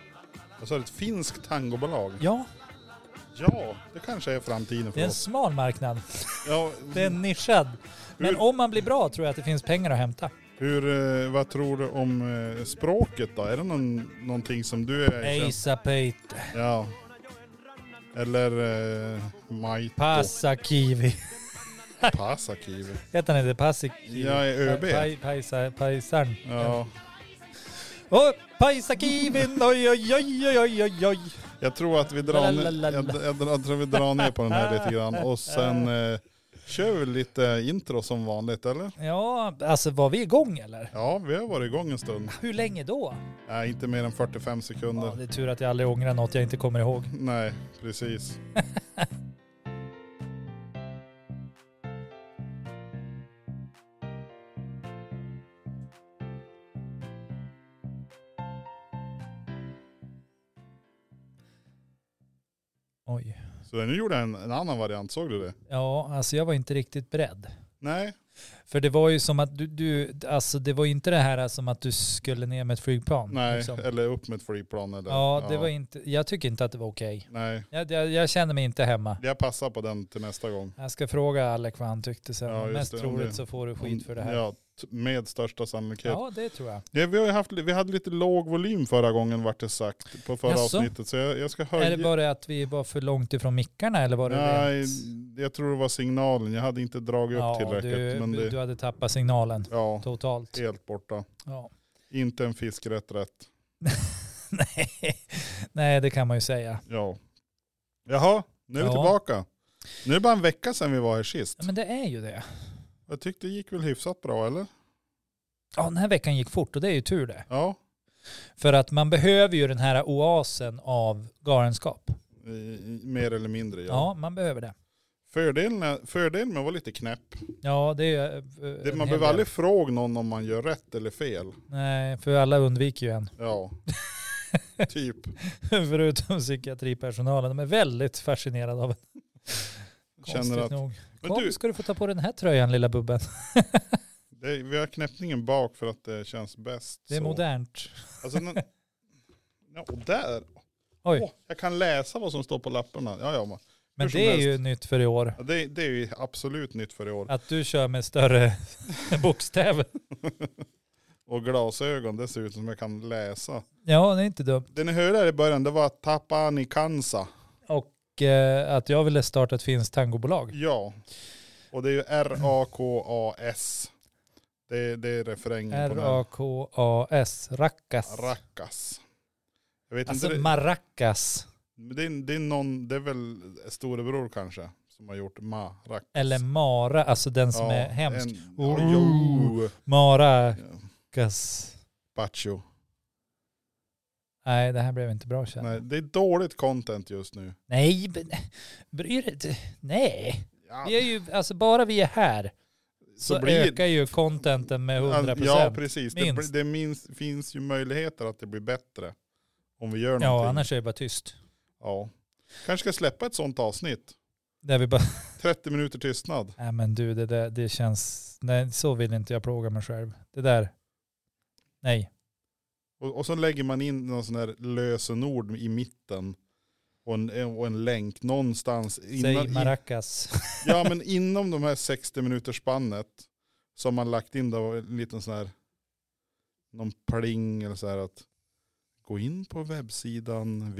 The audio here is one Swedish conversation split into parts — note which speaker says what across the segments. Speaker 1: vad sa du, Alltså, ett finskt tangobolag?
Speaker 2: Ja,
Speaker 1: Ja, det kanske är framtiden
Speaker 2: det
Speaker 1: för
Speaker 2: är en
Speaker 1: oss.
Speaker 2: smal marknad.
Speaker 1: Ja,
Speaker 2: Det är nischad. Men
Speaker 1: Hur-
Speaker 2: om man blir bra tror jag att det finns pengar att hämta.
Speaker 1: hur, eh, vad tror du om eh, språket då? Är det någon, någonting som du är känd-
Speaker 2: Ejsa pöjte,
Speaker 1: Ja. Eller eh, Maito.
Speaker 2: passa kiwi.
Speaker 1: Pasakiv.
Speaker 2: Heter han inte passi kiwi?
Speaker 1: Jag är ÖB.
Speaker 2: Paj- Pajsa, pajsarn.
Speaker 1: Ja.
Speaker 2: Åh, pajsa kiwin, oj oj oj oj, oj oj oj.
Speaker 1: Jag tror att vi drar, ner, jag,
Speaker 2: Lalalala.
Speaker 1: jag, jag tror vi drar ner på den här lite grann och sen eh, kör vi lite intro som vanligt eller?
Speaker 2: Ja, alltså var vi igång eller?
Speaker 1: Ja, vi har varit igång en stund.
Speaker 2: Hur länge då?
Speaker 1: Nej, inte mer än 45
Speaker 2: Ja,
Speaker 1: sekunder.
Speaker 2: det är tur att jag aldrig ångrar något jag inte kommer ihåg.
Speaker 1: Nej, precis.
Speaker 2: Oj.
Speaker 1: Så nu gjorde jag en, en annan variant, såg du det?
Speaker 2: Ja, alltså jag var inte riktigt beredd.
Speaker 1: Nej,
Speaker 2: För det var ju som att du, du alltså det var ju inte det här som att du skulle ner med ett flygplan.
Speaker 1: nej,
Speaker 2: liksom.
Speaker 1: eller upp med ett flygplan eller...
Speaker 2: Ja, det var inte, jag tycker inte att det var okej.
Speaker 1: Nej,
Speaker 2: Jag, jag, jag känner mig inte hemma.
Speaker 1: jag passar på den till nästa gång.
Speaker 2: Jag ska fråga Alec vad han tyckte sen.
Speaker 1: Ja,
Speaker 2: Men
Speaker 1: just
Speaker 2: Mest
Speaker 1: det, om
Speaker 2: troligt
Speaker 1: det-
Speaker 2: så får du skit för det här. Ja,
Speaker 1: Ja, t- med största sannolikhet.
Speaker 2: det tror jag.
Speaker 1: Ja, vi, har ju haft, vi hade lite låg volym förra gången vart det sagt på förra
Speaker 2: Jaså?
Speaker 1: avsnittet. Så jag, jag ska höja.
Speaker 2: Är det bara att vi var för långt ifrån mickarna eller var det
Speaker 1: Nej,
Speaker 2: rent?
Speaker 1: jag tror det var signalen. Jag hade inte dragit upp
Speaker 2: Ja,
Speaker 1: tillräckligt.
Speaker 2: du,
Speaker 1: men det,
Speaker 2: du hade tappat signalen
Speaker 1: ja,
Speaker 2: totalt.
Speaker 1: helt borta.
Speaker 2: Ja.
Speaker 1: Inte en fiskrätt rätt.
Speaker 2: Nej. Nej, det kan man ju säga.
Speaker 1: Ja. Jaha, nu är vi
Speaker 2: Ja.
Speaker 1: tillbaka. Nu är det bara en vecka sedan vi var här sist.
Speaker 2: Ja, Men det är ju det.
Speaker 1: Jag tyckte det gick väl hyfsat bra eller?
Speaker 2: Ja, den här veckan gick fort och det är ju tur det.
Speaker 1: Ja,
Speaker 2: För att man behöver ju den här oasen av galenskap.
Speaker 1: i, i, mer eller mindre. Ja.
Speaker 2: Ja, man behöver det.
Speaker 1: Fördelen, är, fördelen med att vara lite knäpp,
Speaker 2: Ja, det är eh, en
Speaker 1: det,
Speaker 2: hel
Speaker 1: man
Speaker 2: del.
Speaker 1: behöver aldrig fråga någon om man gör rätt eller fel.
Speaker 2: Nej, för alla undviker ju en.
Speaker 1: Ja, typ.
Speaker 2: Förutom psykiatripersonalen. De är väldigt fascinerade av en. Konstigt
Speaker 1: Känner att,
Speaker 2: nog.
Speaker 1: men
Speaker 2: Kom
Speaker 1: du,
Speaker 2: ska du få ta på den här tröjan lilla bubben.
Speaker 1: det, vi har knäppningen bak för att det känns bäst.
Speaker 2: Det är
Speaker 1: så.
Speaker 2: modernt.
Speaker 1: Alltså, den, ja, och där.
Speaker 2: Oj,
Speaker 1: Åh, jag kan läsa vad som står på lapparna. Ja, ja, men-
Speaker 2: men
Speaker 1: hur som
Speaker 2: det är
Speaker 1: helst.
Speaker 2: ju nytt för i år.
Speaker 1: ja, det, det är ju absolut nytt för i år.
Speaker 2: Att du kör med större bokstäver.
Speaker 1: Och glasögon, det ser ut som jag kan läsa.
Speaker 2: Ja, det är inte dumt.
Speaker 1: Det ni hörde här i början, det var Tapani Kansa.
Speaker 2: Och eh, att jag ville starta ett finskt tangobolag.
Speaker 1: Ja. Och det är ju R-A-K-A-S. Det, är- det är refrängen Mm, på den. här.
Speaker 2: R-A-K-A-S, Rackas.
Speaker 1: Rackas. Jag vet
Speaker 2: Alltså
Speaker 1: inte, det-
Speaker 2: Maracas.
Speaker 1: men det, är, det är någon, det är väl storebror kanske som har gjort Maracas.
Speaker 2: Eller Mara, alltså den som
Speaker 1: Ja,
Speaker 2: är hemsk.
Speaker 1: En, ja,
Speaker 2: Ooh.
Speaker 1: jo.
Speaker 2: Maracas.
Speaker 1: Bacho.
Speaker 2: Nej, det här blev inte bra känner
Speaker 1: Nej,
Speaker 2: jag.
Speaker 1: det är dåligt content just nu.
Speaker 2: Nej, men- bryr dig inte. Nej.
Speaker 1: Ja,
Speaker 2: Vi är ju, alltså bara vi är här så, ökar ju contenten med 100 procent.
Speaker 1: Ja, precis. Det,
Speaker 2: minst.
Speaker 1: blir- det minns, finns ju möjligheter att det blir bättre om vi gör någonting.
Speaker 2: ja, annars är det bara tyst.
Speaker 1: Ja. Kanske ska släppa ett sånt avsnitt.
Speaker 2: Där vi bara,
Speaker 1: 30 minuter tystnad.
Speaker 2: nej men du det där, det känns, nej så vill inte jag plåga mig själv. Det där, nej.
Speaker 1: Och, och så lägger man in någon sån här lösenord i mitten. Och en, och en länk någonstans.
Speaker 2: Säg
Speaker 1: innan, i,
Speaker 2: maracas.
Speaker 1: ja, men inom de här 60 minuters spannet så har man lagt in då en liten sån här någon pling eller så här att gå in på webbsidan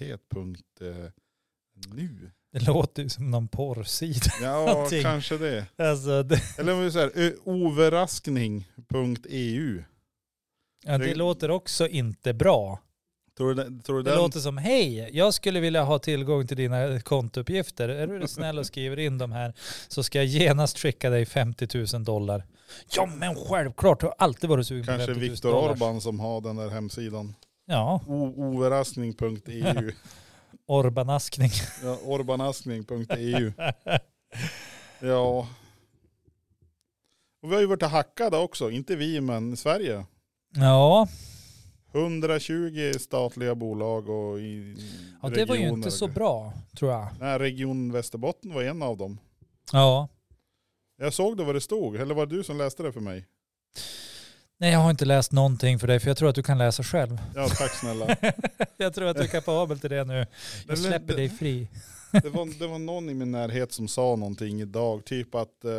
Speaker 1: www.hemlighet.nu.
Speaker 2: Det låter ju som någon porrsida.
Speaker 1: Ja,
Speaker 2: Någonting.
Speaker 1: kanske det.
Speaker 2: Alltså, det,
Speaker 1: Eller om vi säger eh, ö, overraskning.eu.
Speaker 2: ja, det
Speaker 1: Det-
Speaker 2: låter också inte bra.
Speaker 1: Tror du, den- tror du
Speaker 2: Det
Speaker 1: den?
Speaker 2: låter som, hej, jag skulle vilja ha tillgång till dina kontouppgifter. Är du snäll och skriver in de här så ska jag genast skicka dig 50 000 dollar. Ja men självklart, du har alltid varit sugen på
Speaker 1: Kanske
Speaker 2: 50 000
Speaker 1: Viktor
Speaker 2: dollar.
Speaker 1: Orban som har den där hemsidan.
Speaker 2: Ja,
Speaker 1: O- Overraskning.eu.
Speaker 2: Orbanaskning.
Speaker 1: Ja, Orbanaskning.eu. Ja. Och vi har ju varit hackade också. Inte vi, men Sverige.
Speaker 2: Ja,
Speaker 1: 120 statliga bolag och i
Speaker 2: ja det var ju
Speaker 1: regioner.
Speaker 2: inte så bra tror jag.
Speaker 1: Nej, Region Västerbotten var en av dem.
Speaker 2: Ja,
Speaker 1: Jag såg det vad det stod. Eller var det du som läste det för mig?
Speaker 2: Nej, jag har inte läst någonting för dig, för jag tror att du kan läsa själv.
Speaker 1: Ja, tack snälla.
Speaker 2: jag tror att du är kapabel till det nu. Jag släpper dig fri.
Speaker 1: Det var, det var någon i min närhet som sa någonting idag, typ att eh,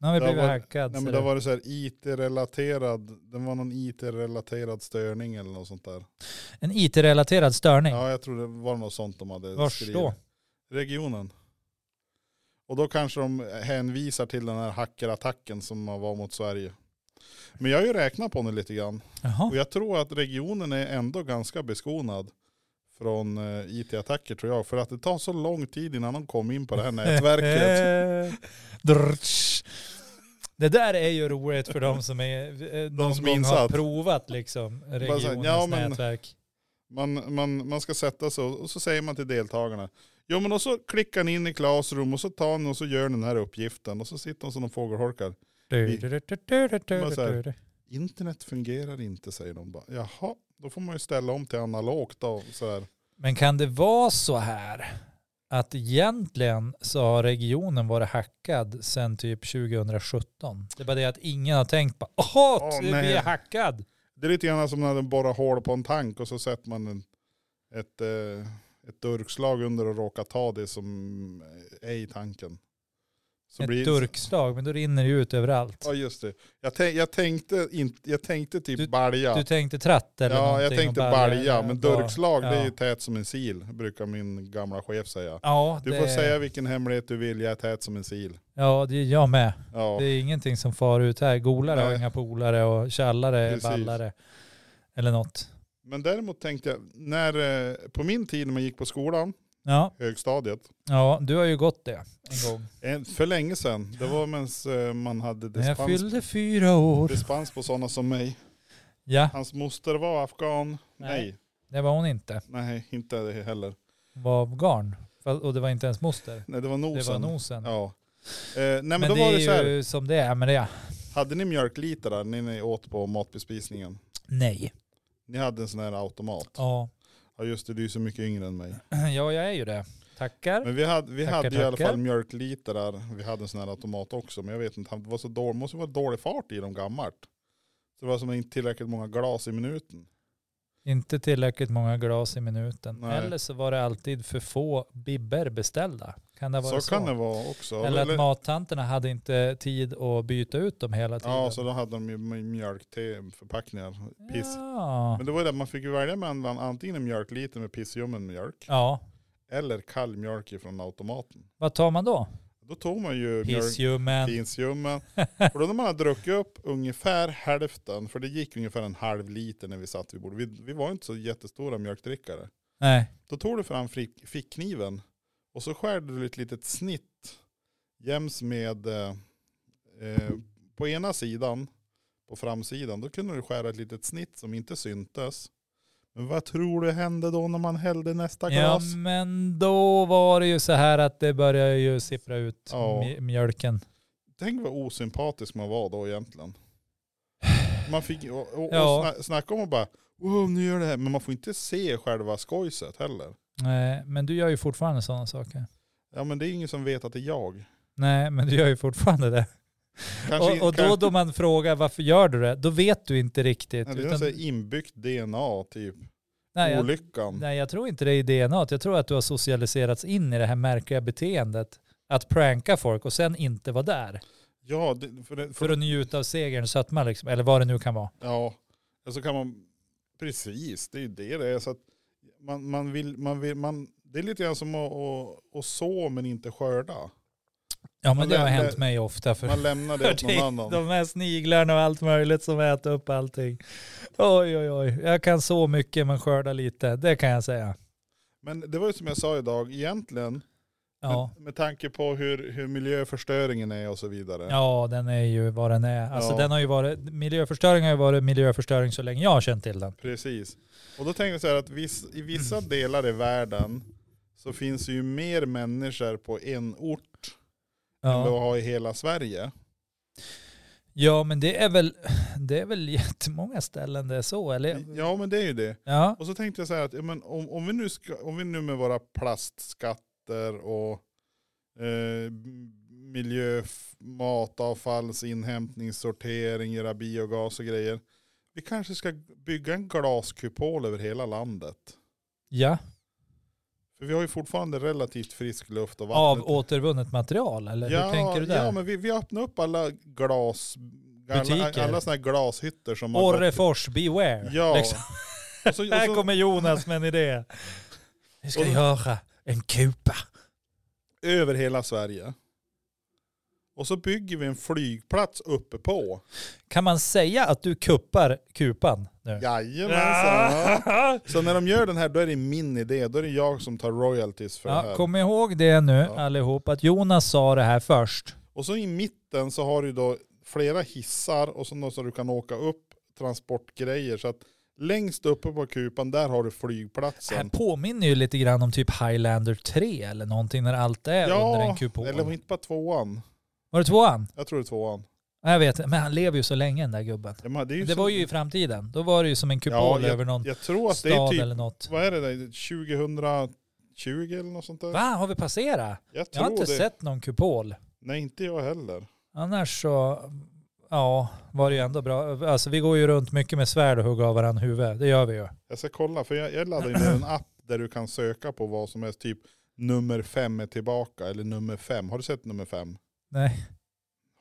Speaker 2: Nu har vi
Speaker 1: Det har
Speaker 2: blivit
Speaker 1: varit-
Speaker 2: hackad.
Speaker 1: nej,
Speaker 2: ser
Speaker 1: men det
Speaker 2: du.
Speaker 1: var det så här it-relaterad, det var någon it-relaterad störning eller något sånt där.
Speaker 2: En it-relaterad störning.
Speaker 1: Ja, jag tror det var något sånt de hade
Speaker 2: Vars då?
Speaker 1: Regionen. Och då kanske de hänvisar till den här hackerattacken som var mot Sverige. Men jag har ju räknat på det lite grann.
Speaker 2: Jaha.
Speaker 1: Och jag tror att regionen är ändå ganska beskonad från eh, it-attacker tror jag. För att det tar så lång tid innan de kom in på det här nätverket.
Speaker 2: Drrtsch. Det där är ju roligt för de som, är, eh, någon
Speaker 1: som
Speaker 2: gång har
Speaker 1: insatt.
Speaker 2: provat liksom regionens
Speaker 1: ja, men-
Speaker 2: nätverk.
Speaker 1: Man, man, man ska sätta sig och och så säger man till deltagarna. Jo men och så klickar ni in i Classroom och så tar ni och så gör ni den här uppgiften. Och så sitter de som de fågelholkar.
Speaker 2: Du,
Speaker 1: vi-
Speaker 2: du, du, du, du, du, du,
Speaker 1: Vad säger-
Speaker 2: du, du.
Speaker 1: Internet fungerar inte säger de bara. Jaha, då får man ju ställa om till analogt då. Så här.
Speaker 2: Men kan det vara så här att egentligen så har regionen varit hackad sedan typ 2017? Det är bara det att ingen har tänkt på, åh,
Speaker 1: Åh,
Speaker 2: vi
Speaker 1: nej.
Speaker 2: är hackad.
Speaker 1: Det är lite grann som när de borrar hål på en tank och så sätter man en, ett, eh, ett durkslag under och råkar ta det som är i tanken. Så
Speaker 2: Ett
Speaker 1: blir-
Speaker 2: durkslag, men då rinner det ju ut överallt.
Speaker 1: Ja just det. Jag, tän- jag, tänkte, in, jag tänkte typ balja.
Speaker 2: Du tänkte tratt eller
Speaker 1: ja
Speaker 2: någonting
Speaker 1: jag
Speaker 2: och
Speaker 1: tänkte
Speaker 2: bara-
Speaker 1: balja. Men
Speaker 2: bara-
Speaker 1: durkslag det är ju
Speaker 2: ja.
Speaker 1: tät som en sil brukar min gamla chef säga.
Speaker 2: Ja,
Speaker 1: Du
Speaker 2: det,
Speaker 1: får säga vilken hemlighet du vill, jag är tät som en sil.
Speaker 2: ja, det är jag med.
Speaker 1: Ja.
Speaker 2: Det är ingenting som far ut här. Golare har
Speaker 1: Nej.
Speaker 2: inga polare och källare är
Speaker 1: Precis.
Speaker 2: ballare. Eller något.
Speaker 1: Men däremot tänkte jag, när, eh, på min tid när man gick på skolan,
Speaker 2: Ja,
Speaker 1: högstadiet,
Speaker 2: ja, du har ju gått det en gång.
Speaker 1: Eh, För länge sedan. Det var medan eh, man hade
Speaker 2: När jag
Speaker 1: dispens,
Speaker 2: fyllde fyra år.
Speaker 1: dispens på sådana som mig.
Speaker 2: Ja,
Speaker 1: Hans moster var afghan.
Speaker 2: Nej.
Speaker 1: Nej,
Speaker 2: det var hon inte.
Speaker 1: nej, inte det heller.
Speaker 2: Hon var garn. Fa- Och det var inte ens moster.
Speaker 1: Nej, det var nosen.
Speaker 2: Det var nosen.
Speaker 1: Ja. Eh, nej, men,
Speaker 2: men
Speaker 1: då
Speaker 2: det
Speaker 1: var
Speaker 2: är
Speaker 1: det så här.
Speaker 2: ju som det är med det.
Speaker 1: Hade ni mjölkliter där när ni åt på matbespisningen?
Speaker 2: Nej.
Speaker 1: Ni hade en sån här automat. Ja,
Speaker 2: Ja.
Speaker 1: just det, du är så mycket yngre än mig.
Speaker 2: ja, jag är ju det. Tackar.
Speaker 1: Men vi hade, vi
Speaker 2: Tackar,
Speaker 1: hade ju i alla
Speaker 2: tackar.
Speaker 1: fall mjölkliter där. Vi hade en sån här automat också. Men jag vet inte, han- det var så dålig, måste vara dålig fart i dem gammalt. Så det var som inte tillräckligt många glas i minuten.
Speaker 2: Inte tillräckligt många glas i minuten.
Speaker 1: Nej.
Speaker 2: Eller så var det alltid för få bibber beställda. Kan det vara så?
Speaker 1: Så, kan det vara också.
Speaker 2: Eller att mattanterna hade inte tid att byta ut dem hela tiden.
Speaker 1: Ja, så då hade de ju mjölkteförpackningar. Piss.
Speaker 2: Ja.
Speaker 1: Men det var ju det, man fick ju välja mellan antingen en mjölkliter med pissljummen mjölk
Speaker 2: ja.
Speaker 1: eller kall mjölk från automaten.
Speaker 2: Vad tar man då?
Speaker 1: Då tog man ju mjölk-
Speaker 2: Pissljummen.
Speaker 1: pissljummen. Och då när man hade druckit upp ungefär hälften, för det gick ungefär en halv liter när vi satt vid bordet. Vi, vi var inte så jättestora mjölkdrickare.
Speaker 2: Nej.
Speaker 1: Då tog du fram frick- fickkniven och så skärde du ett litet snitt jäms med eh, eh, på ena sidan på framsidan. Då kunde du skära ett litet snitt som inte syntes. Men vad tror du hände då när man hällde nästa
Speaker 2: Ja
Speaker 1: glas?
Speaker 2: men då var det ju så här att det började ju sippra ut
Speaker 1: Ja.
Speaker 2: mj- mjölken.
Speaker 1: Tänk vad osympatisk man var då egentligen. Man fick och, och, och
Speaker 2: Ja.
Speaker 1: sna, snacka om och bara wow nu gör det här. Men man får inte se själva skojset heller.
Speaker 2: Nej, men du gör ju fortfarande sådana saker.
Speaker 1: Ja men det är ingen som vet att det är jag.
Speaker 2: Nej men du gör ju fortfarande det.
Speaker 1: Kanske,
Speaker 2: Och, och då,
Speaker 1: kanske-
Speaker 2: då man frågar varför gör du det, då vet du inte riktigt.
Speaker 1: Ja, Det är
Speaker 2: utan-
Speaker 1: någon sån här inbyggt DNA typ.
Speaker 2: nej, jag,
Speaker 1: Olyckan.
Speaker 2: nej jag tror inte det är i DNA. t. Jag tror att du har socialiserats in i det här märkliga beteendet. Att pranka folk och sen inte vara där.
Speaker 1: Ja, det, för, det, för,
Speaker 2: För att njuta av segern så att man liksom, eller vad det nu kan vara.
Speaker 1: ja. Och så kan man, precis, det är ju det det är. Så att man, man vill, man vill, man, det är lite grann som att, att, att så men inte skörda.
Speaker 2: Ja men
Speaker 1: Man
Speaker 2: det har
Speaker 1: lä-
Speaker 2: hänt
Speaker 1: lä-
Speaker 2: mig ofta. För
Speaker 1: Man lämnar det åt någon
Speaker 2: För
Speaker 1: annan.
Speaker 2: det, de här sniglarna och allt möjligt som äter upp allting. Oj, oj, oj. Jag kan så mycket men skörda lite. Det kan jag säga.
Speaker 1: Men det var ju som jag sa idag, egentligen,
Speaker 2: Ja,
Speaker 1: med, med tanke på hur, hur miljöförstöringen är och så vidare.
Speaker 2: ja den är ju vad den är. Alltså
Speaker 1: Ja.
Speaker 2: den har ju varit, miljöförstöring har ju varit miljöförstöring så länge jag har känt till den.
Speaker 1: Precis. Och då tänkte jag så här att viss, i vissa
Speaker 2: Mm.
Speaker 1: delar i världen så finns det ju mer människor på en ort än vad vi
Speaker 2: Ja,
Speaker 1: har i hela Sverige.
Speaker 2: ja men det är, väl, det är väl jättemånga ställen det är så, eller?
Speaker 1: Ja men det är ju det.
Speaker 2: Ja,
Speaker 1: Och så tänkte jag så här att ja, men om, om, vi nu ska, om vi nu med våra plastskatter och eh, miljö, f- matavfallsinhämtning, sortering, göra biogas och grejer. Vi kanske ska bygga en glaskupol över hela landet.
Speaker 2: Ja,
Speaker 1: För vi har ju fortfarande relativt frisk luft och
Speaker 2: av
Speaker 1: vatten.
Speaker 2: återvunnet material eller hur tänker du där?
Speaker 1: Ja, men vi, vi öppnar upp alla glas... Alla,
Speaker 2: Butiker.
Speaker 1: alla sådana här glashytter som har gått-
Speaker 2: Orrefors, beware.
Speaker 1: Ja.
Speaker 2: Liksom.
Speaker 1: Och så, och
Speaker 2: Här
Speaker 1: så,
Speaker 2: kommer Jonas med en idé. Vi ska
Speaker 1: Och-
Speaker 2: göra en kupa.
Speaker 1: över hela Sverige. Och så bygger vi en flygplats uppe på.
Speaker 2: Kan man säga att du kuppar kupan nu?
Speaker 1: Jajamensan. Så när de gör den här då är det min idé. Då är det jag som tar royalties för det
Speaker 2: Ja,
Speaker 1: här.
Speaker 2: kom ihåg det nu
Speaker 1: Ja.
Speaker 2: allihop, att Jonas sa det här först.
Speaker 1: Och så i mitten så har du då flera hissar och så något som du kan åka upp transportgrejer. Så att längst uppe på kupan där har du
Speaker 2: Det här
Speaker 1: flygplatsen.
Speaker 2: påminner ju lite grann om typ Highlander 3 eller någonting när allt är under en kupol.
Speaker 1: eller inte bara tvåan.
Speaker 2: Var det tvåan?
Speaker 1: Jag tror det är tvåan.
Speaker 2: Ja, Jag vet men han lever ju så länge den där gubben.
Speaker 1: Ja, men det är
Speaker 2: Det
Speaker 1: så-
Speaker 2: var ju i framtiden. Då var det ju som en kupol
Speaker 1: Ja,
Speaker 2: över någon
Speaker 1: Jag tror att det är
Speaker 2: stad
Speaker 1: typ,
Speaker 2: eller något.
Speaker 1: vad är det där, 2020 eller något sånt där?
Speaker 2: Va, har vi passerat?
Speaker 1: Jag
Speaker 2: Jag
Speaker 1: tror
Speaker 2: har inte
Speaker 1: det.
Speaker 2: sett någon kupol.
Speaker 1: Nej, inte jag heller.
Speaker 2: Annars så, ja, var det ju ändå bra. Alltså vi går ju runt mycket med svärd och hugger av varandra huvud. Det gör vi ju.
Speaker 1: Jag ska kolla, för jag, jag laddar ju ner en app där du kan söka på vad som helst, typ nummer fem är tillbaka eller nummer fem. Har du sett nummer fem?
Speaker 2: Nej.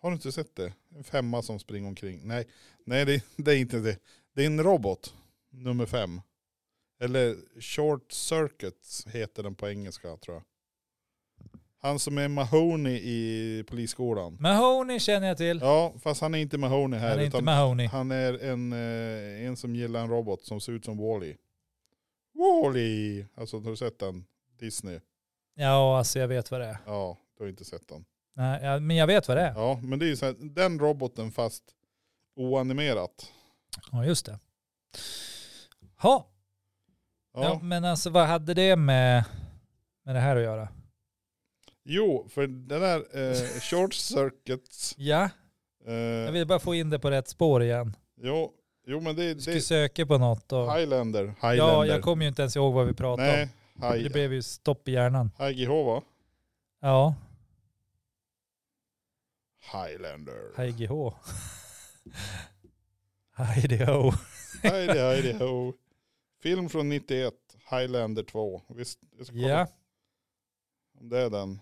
Speaker 1: Har du inte sett det? En femma som springer omkring. Nej, Nej det, det är inte det. Det är en robot, nummer fem. Eller short circuit heter den på engelska tror jag. Han som är Mahoney i polisskolan.
Speaker 2: Mahoney känner jag till.
Speaker 1: Ja, fast han är inte Mahoney här.
Speaker 2: Mm. Han är inte
Speaker 1: utan
Speaker 2: Mahoney.
Speaker 1: han är en, eh, en som gillar en robot som ser ut som Wall-E. Wall-E! Alltså har du sett den? Disney?
Speaker 2: Ja, alltså jag vet vad det är.
Speaker 1: Ja, du har inte sett den.
Speaker 2: Nej, ja, men jag vet vad det är.
Speaker 1: Ja, men det är ju så här, den roboten fast oanimerat.
Speaker 2: Ja, just det. Ha. Ja.
Speaker 1: Ja.
Speaker 2: men alltså vad hade det med, med det här att göra?
Speaker 1: Jo, för det där eh, short circuits.
Speaker 2: Ja, jag
Speaker 1: Eh,
Speaker 2: vill bara få in det på rätt spår igen.
Speaker 1: jo, jo, men det, det
Speaker 2: Skulle
Speaker 1: är
Speaker 2: söka på något och...
Speaker 1: Highlander. Highlander.
Speaker 2: Ja, jag kommer ju inte ens ihåg vad vi pratade
Speaker 1: Nej,
Speaker 2: om. Det
Speaker 1: Hi-
Speaker 2: blev ju stopp i hjärnan.
Speaker 1: Haigihova.
Speaker 2: Ja,
Speaker 1: Highlander.
Speaker 2: HGH. HDO.
Speaker 1: Heidi, Heidi, ho. Film från 91, Highlander 2. Visst, jag ska kolla
Speaker 2: Ja,
Speaker 1: om det är den.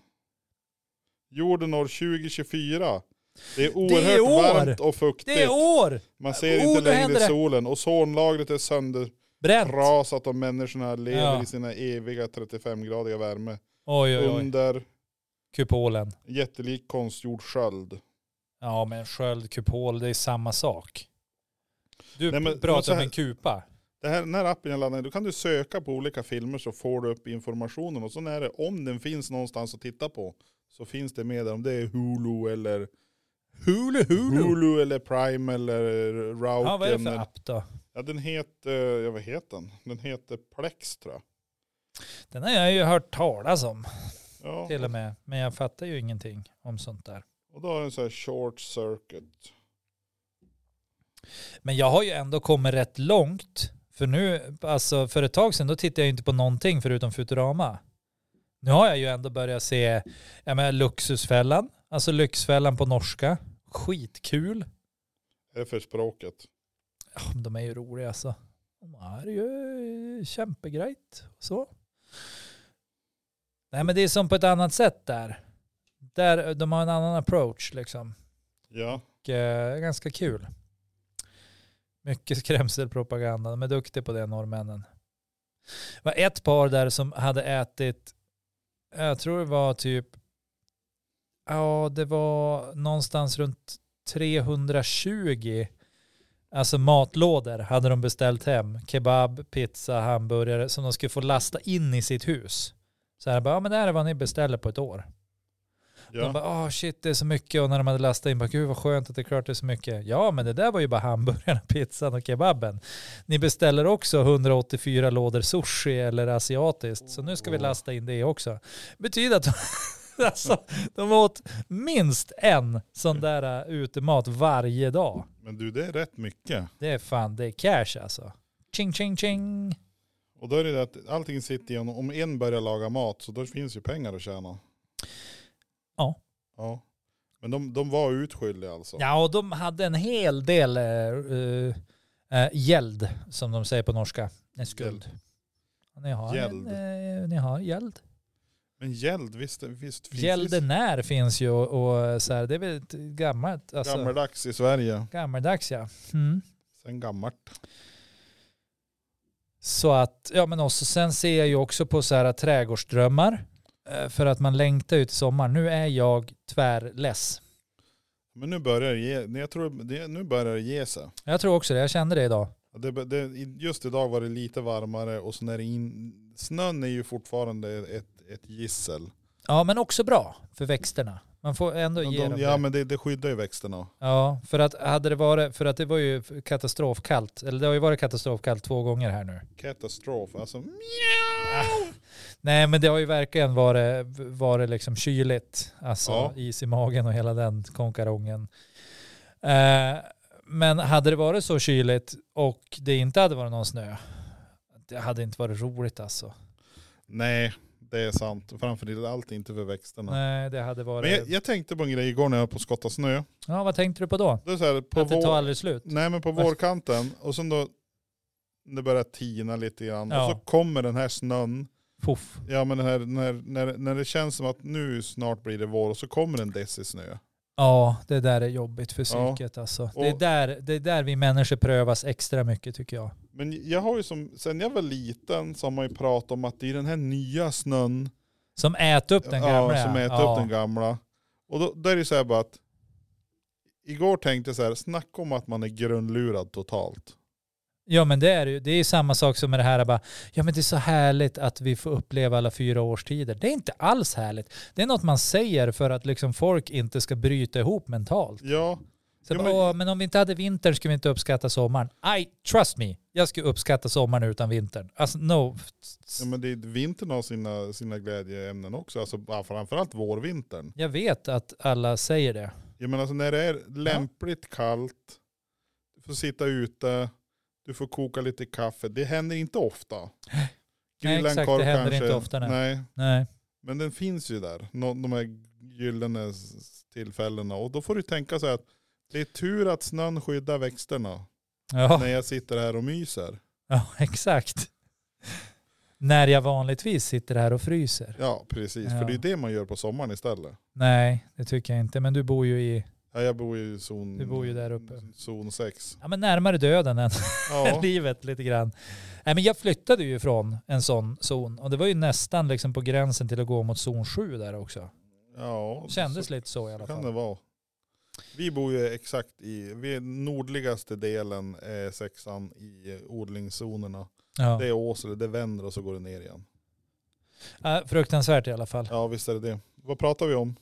Speaker 1: Jorden år 2024. Det är oerhört
Speaker 2: Det är år!
Speaker 1: varmt och fuktigt.
Speaker 2: det är år!
Speaker 1: Man ser
Speaker 2: Oh,
Speaker 1: inte
Speaker 2: nu händer
Speaker 1: längre
Speaker 2: det!
Speaker 1: solen. Ozonlagret är
Speaker 2: Bränt.
Speaker 1: söndertrasat och människorna lever
Speaker 2: Ja.
Speaker 1: i sina eviga 35-gradiga värme.
Speaker 2: Oj, oj, oj.
Speaker 1: Under
Speaker 2: Kupolen.
Speaker 1: jättelik konstgjord sköld.
Speaker 2: Ja, men sköld, kupol, det är samma sak. Du
Speaker 1: Nej, men- men så
Speaker 2: pratar om
Speaker 1: här-
Speaker 2: en kupa.
Speaker 1: Det här, den här appen jag laddar ner, då kan du söka på olika filmer så får du upp informationen. Och sen är det, om den finns någonstans att titta på, så finns det med där. Om det är Hulu eller Hulu, Hulu. eller Prime eller Rauken.
Speaker 2: Ja, vad är det för app då?
Speaker 1: Ja, den heter, ja vad heter den? Den heter Plex tror jag.
Speaker 2: Den har jag ju hört talas om
Speaker 1: Ja,
Speaker 2: till och med. Men jag fattar ju ingenting om sånt där.
Speaker 1: och då har den så här short circuit.
Speaker 2: Men jag har ju ändå kommit rätt långt. För nu, alltså för ett tag sedan, då tittade jag ju inte på någonting förutom Futurama. Nu har jag ju ändå börjat se, jag menar Luxusfällan, alltså Lyxfällan på norska. Skitkul.
Speaker 1: Är det för språket?
Speaker 2: Ja, men de är ju roliga alltså. De är ju kämpegrejt och så. Nej men det är som på ett annat sätt där. Där de har en annan approach liksom.
Speaker 1: Ja.
Speaker 2: Och, eh, ganska kul. Mycket skrämselpropaganda. De är duktiga på det, norrmännen. Det var ett par där som hade ätit, jag tror det var typ, ja det var någonstans runt 320 Alltså matlådor hade de beställt hem. Kebab, pizza, hamburgare som de skulle få lasta in i sitt hus. Så här bara, ja men det här är vad ni beställer på ett år. De
Speaker 1: ja.
Speaker 2: bara, ah shit det är så mycket. Och när de hade lastat in, bara, gud vad skönt att det är klart det är så mycket. Ja, men det där var ju bara hamburgaren, pizzan och kebaben. Ni beställer också 184 lådor sushi eller asiatiskt. Så nu ska vi lasta in det också. Betyder att de, alltså, de åt minst en sån där uh, utemat varje dag.
Speaker 1: Men du, det är rätt mycket.
Speaker 2: Det är fan, det är cash alltså. Ching, ching, ching.
Speaker 1: Och då är det det att allting sitter igen. Om en börjar laga mat så då finns ju pengar att tjäna.
Speaker 2: Ja.
Speaker 1: Ja. Men de, de var utskyldiga alltså?
Speaker 2: Ja, och de hade en hel del eh, eh, eh, gäld, som de säger på norska. En skuld. Ni har,
Speaker 1: Gäld.
Speaker 2: En, eh, ni har gäld.
Speaker 1: Men gäld, visst, visst finns det
Speaker 2: Gäldenär finns ju och, och så här, det är väl ett gammalt, alltså,
Speaker 1: gammaldags i Sverige.
Speaker 2: gammaldags ja. Mm.
Speaker 1: Sen gammalt.
Speaker 2: Så att, ja men också, sen ser jag ju också på så här trädgårdsdrömmar, eh, för att man längtar ut i sommar. Nu är jag tvärless.
Speaker 1: Men nu börjar det ge, nej, jag tror det, nu börjar det ge sig.
Speaker 2: Jag tror också det, jag kände det idag.
Speaker 1: Ja, Det, det, i- just idag var det lite varmare och sen är det in, snön är ju fortfarande ett, ett gissel.
Speaker 2: Ja men också bra för växterna. Man får ändå
Speaker 1: Men
Speaker 2: ge dem
Speaker 1: de,
Speaker 2: det.
Speaker 1: ja men det, det skyddar ju växterna.
Speaker 2: Ja, för att hade det varit, för att det var ju katastrofkallt, eller det har ju varit katastrofkallt två gånger här nu.
Speaker 1: Katastrof, alltså
Speaker 2: Nej men det har ju verkligen varit, varit liksom kyligt, alltså
Speaker 1: Ja.
Speaker 2: is i magen och hela den konkarongen. Eh, men hade det varit så kyligt och det inte hade varit någon snö, det hade inte varit roligt alltså.
Speaker 1: nej det är sant. Framför allt inte för växterna.
Speaker 2: Nej det hade
Speaker 1: Men
Speaker 2: varit...
Speaker 1: jag, jag tänkte på en grej igår när jag var på och skottade snö.
Speaker 2: Ja vad tänkte du på då?
Speaker 1: Det är så här, på
Speaker 2: Att det tar
Speaker 1: vår,
Speaker 2: aldrig slut?
Speaker 1: nej men på
Speaker 2: Varför?
Speaker 1: vårkanten och sen då det börjar tina lite grann
Speaker 2: Ja.
Speaker 1: och så kommer den här snön.
Speaker 2: Puff.
Speaker 1: Ja men den här, när, när, när det känns som att nu snart blir det vår och så kommer en deci snö.
Speaker 2: Ja, det där är jobbigt för
Speaker 1: Ja.
Speaker 2: psyket alltså.
Speaker 1: Och-
Speaker 2: Det är, där, det är där vi människor prövas extra mycket tycker jag.
Speaker 1: Men jag har ju som, sen jag var liten så har man ju pratat om att det är den här nya snön
Speaker 2: Som äter upp den gamla.
Speaker 1: ja, som äter
Speaker 2: ja.
Speaker 1: upp den gamla. Och då, då är det ju så här bara att igår tänkte jag så här, snacka om att man är grundlurad totalt.
Speaker 2: Ja men det är ju, det är ju samma sak som med det här bara, ja men det är så härligt att vi får uppleva alla fyra årstider. Det är inte alls härligt. Det är något man säger för att liksom folk inte ska bryta ihop mentalt.
Speaker 1: Ja,
Speaker 2: Så
Speaker 1: Ja,
Speaker 2: bara,
Speaker 1: men-
Speaker 2: men... Åh, men om vi inte hade vinter skulle vi inte uppskatta sommaren. I trust me, jag skulle uppskatta sommaren utan vintern. Alltså no.
Speaker 1: ja men det, är- vintern har sina, sina glädjeämnen också, alltså ja, framförallt vårvintern.
Speaker 2: Jag vet att alla säger det.
Speaker 1: Jag menar alltså när det är lämpligt kallt, du får sitta ute, du får koka lite kaffe, det händer inte ofta.
Speaker 2: Nej,
Speaker 1: Grilla en
Speaker 2: exakt,
Speaker 1: korv
Speaker 2: det händer
Speaker 1: kanske.
Speaker 2: inte ofta, nej.
Speaker 1: nej.
Speaker 2: Nej.
Speaker 1: Men den finns ju där, nå- de här gyllene s- tillfällena. Och då får du tänka så här att det är tur att snön skyddar växterna
Speaker 2: Ja,
Speaker 1: när jag sitter här och myser.
Speaker 2: ja exakt. När jag vanligtvis sitter här och fryser.
Speaker 1: Ja, precis. För
Speaker 2: Ja.
Speaker 1: det är det man gör på sommaren istället.
Speaker 2: Nej, det tycker jag inte. Men du bor ju i,
Speaker 1: Ja, jag bor ju i zon,
Speaker 2: Du bor ju där uppe.
Speaker 1: zon 6.
Speaker 2: ja men närmare döden än
Speaker 1: Ja,
Speaker 2: livet lite grann. Nej, men jag flyttade ju från en sån zon och det var ju nästan liksom på gränsen till att gå mot zon 7 där också.
Speaker 1: ja
Speaker 2: Kändes
Speaker 1: så,
Speaker 2: lite så i
Speaker 1: så
Speaker 2: alla
Speaker 1: kan det
Speaker 2: fall.
Speaker 1: vara. Vi bor ju exakt i, vi är nordligaste delen, eh, sexan, i eh, odlingszonerna.
Speaker 2: Ja.
Speaker 1: Det är Åsele, det vänder och så går det ner igen.
Speaker 2: Ja, fruktansvärt i alla fall.
Speaker 1: Ja, visst är det det. Vad pratar vi om?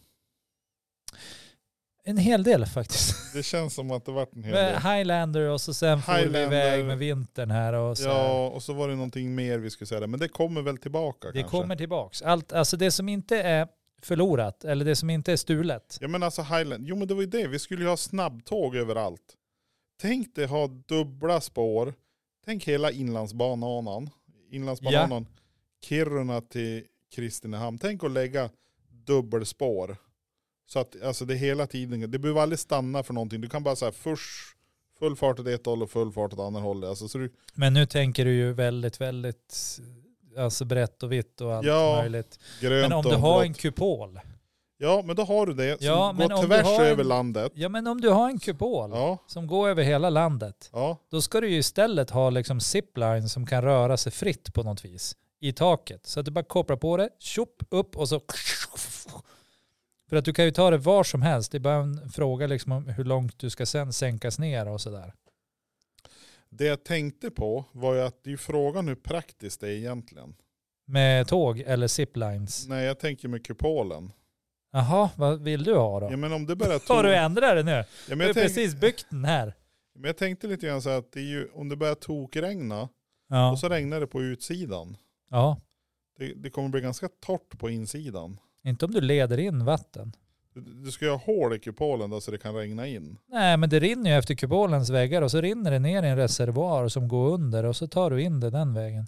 Speaker 2: En hel del faktiskt.
Speaker 1: Det känns som att det vart en hel del.
Speaker 2: Highlander och så sen for vi
Speaker 1: Highlander.
Speaker 2: iväg med vintern här och så. här.
Speaker 1: Ja, och så var det någonting mer vi skulle säga där. Men det kommer väl tillbaka
Speaker 2: det
Speaker 1: kanske?
Speaker 2: kommer tillbaks. Allt, alltså det som inte är förlorat eller det som inte är stulet.
Speaker 1: Ja men alltså Highland, jo men det var ju det, vi skulle ju ha snabbtåg överallt. Tänk dig ha dubbla spår, tänk hela inlandsbanan, inlandsbanan, Kiruna till Kristinehamn. Tänk att lägga dubbelspår. Så att alltså det hela tiden, det behöver aldrig stanna för någonting. Du kan bara säga först full fart åt ett håll och full fart åt andra hållet. Alltså, så du,
Speaker 2: Men nu tänker du ju väldigt, väldigt alltså brett och vitt och allt
Speaker 1: Ja,
Speaker 2: möjligt.
Speaker 1: grönt
Speaker 2: Men om
Speaker 1: och
Speaker 2: du har
Speaker 1: blått.
Speaker 2: en kupol.
Speaker 1: Ja men då har du det som
Speaker 2: Ja, men om
Speaker 1: går
Speaker 2: du
Speaker 1: tvärs
Speaker 2: har en-
Speaker 1: över landet.
Speaker 2: Ja men om du har en kupol.
Speaker 1: Ja,
Speaker 2: som går över hela landet,
Speaker 1: ja.
Speaker 2: då ska du ju istället ha liksom zipline som kan röra sig fritt på något vis i taket. Så att du bara kopplar på det, tjopp, upp och så... För att du kan ju ta det var som helst. Det är bara en fråga liksom om hur långt du ska sen sänkas ner och sådär.
Speaker 1: Det jag tänkte på var ju att det är ju frågan hur praktiskt det är egentligen.
Speaker 2: Med tåg eller ziplines.
Speaker 1: Nej, jag tänker med kupolen.
Speaker 2: Jaha, vad vill du ha
Speaker 1: Ja,
Speaker 2: då?
Speaker 1: men om det börjar
Speaker 2: Har du
Speaker 1: toka...
Speaker 2: ändrat det nu?
Speaker 1: Ja, men,
Speaker 2: Du har
Speaker 1: jag tänk...
Speaker 2: precis byggt den här.
Speaker 1: men jag tänkte lite grann så här att det är ju, om det börjar tokregna
Speaker 2: Ja.
Speaker 1: och så regnar det på utsidan.
Speaker 2: ja,
Speaker 1: Det, det kommer bli ganska torrt på insidan.
Speaker 2: inte om du leder in vatten.
Speaker 1: Du, du ska ju ha hål i kupolen då så det kan regna in.
Speaker 2: Nej, men det rinner ju efter kubolens väggar och så rinner det ner i en reservoar som går under och så tar du in det den vägen.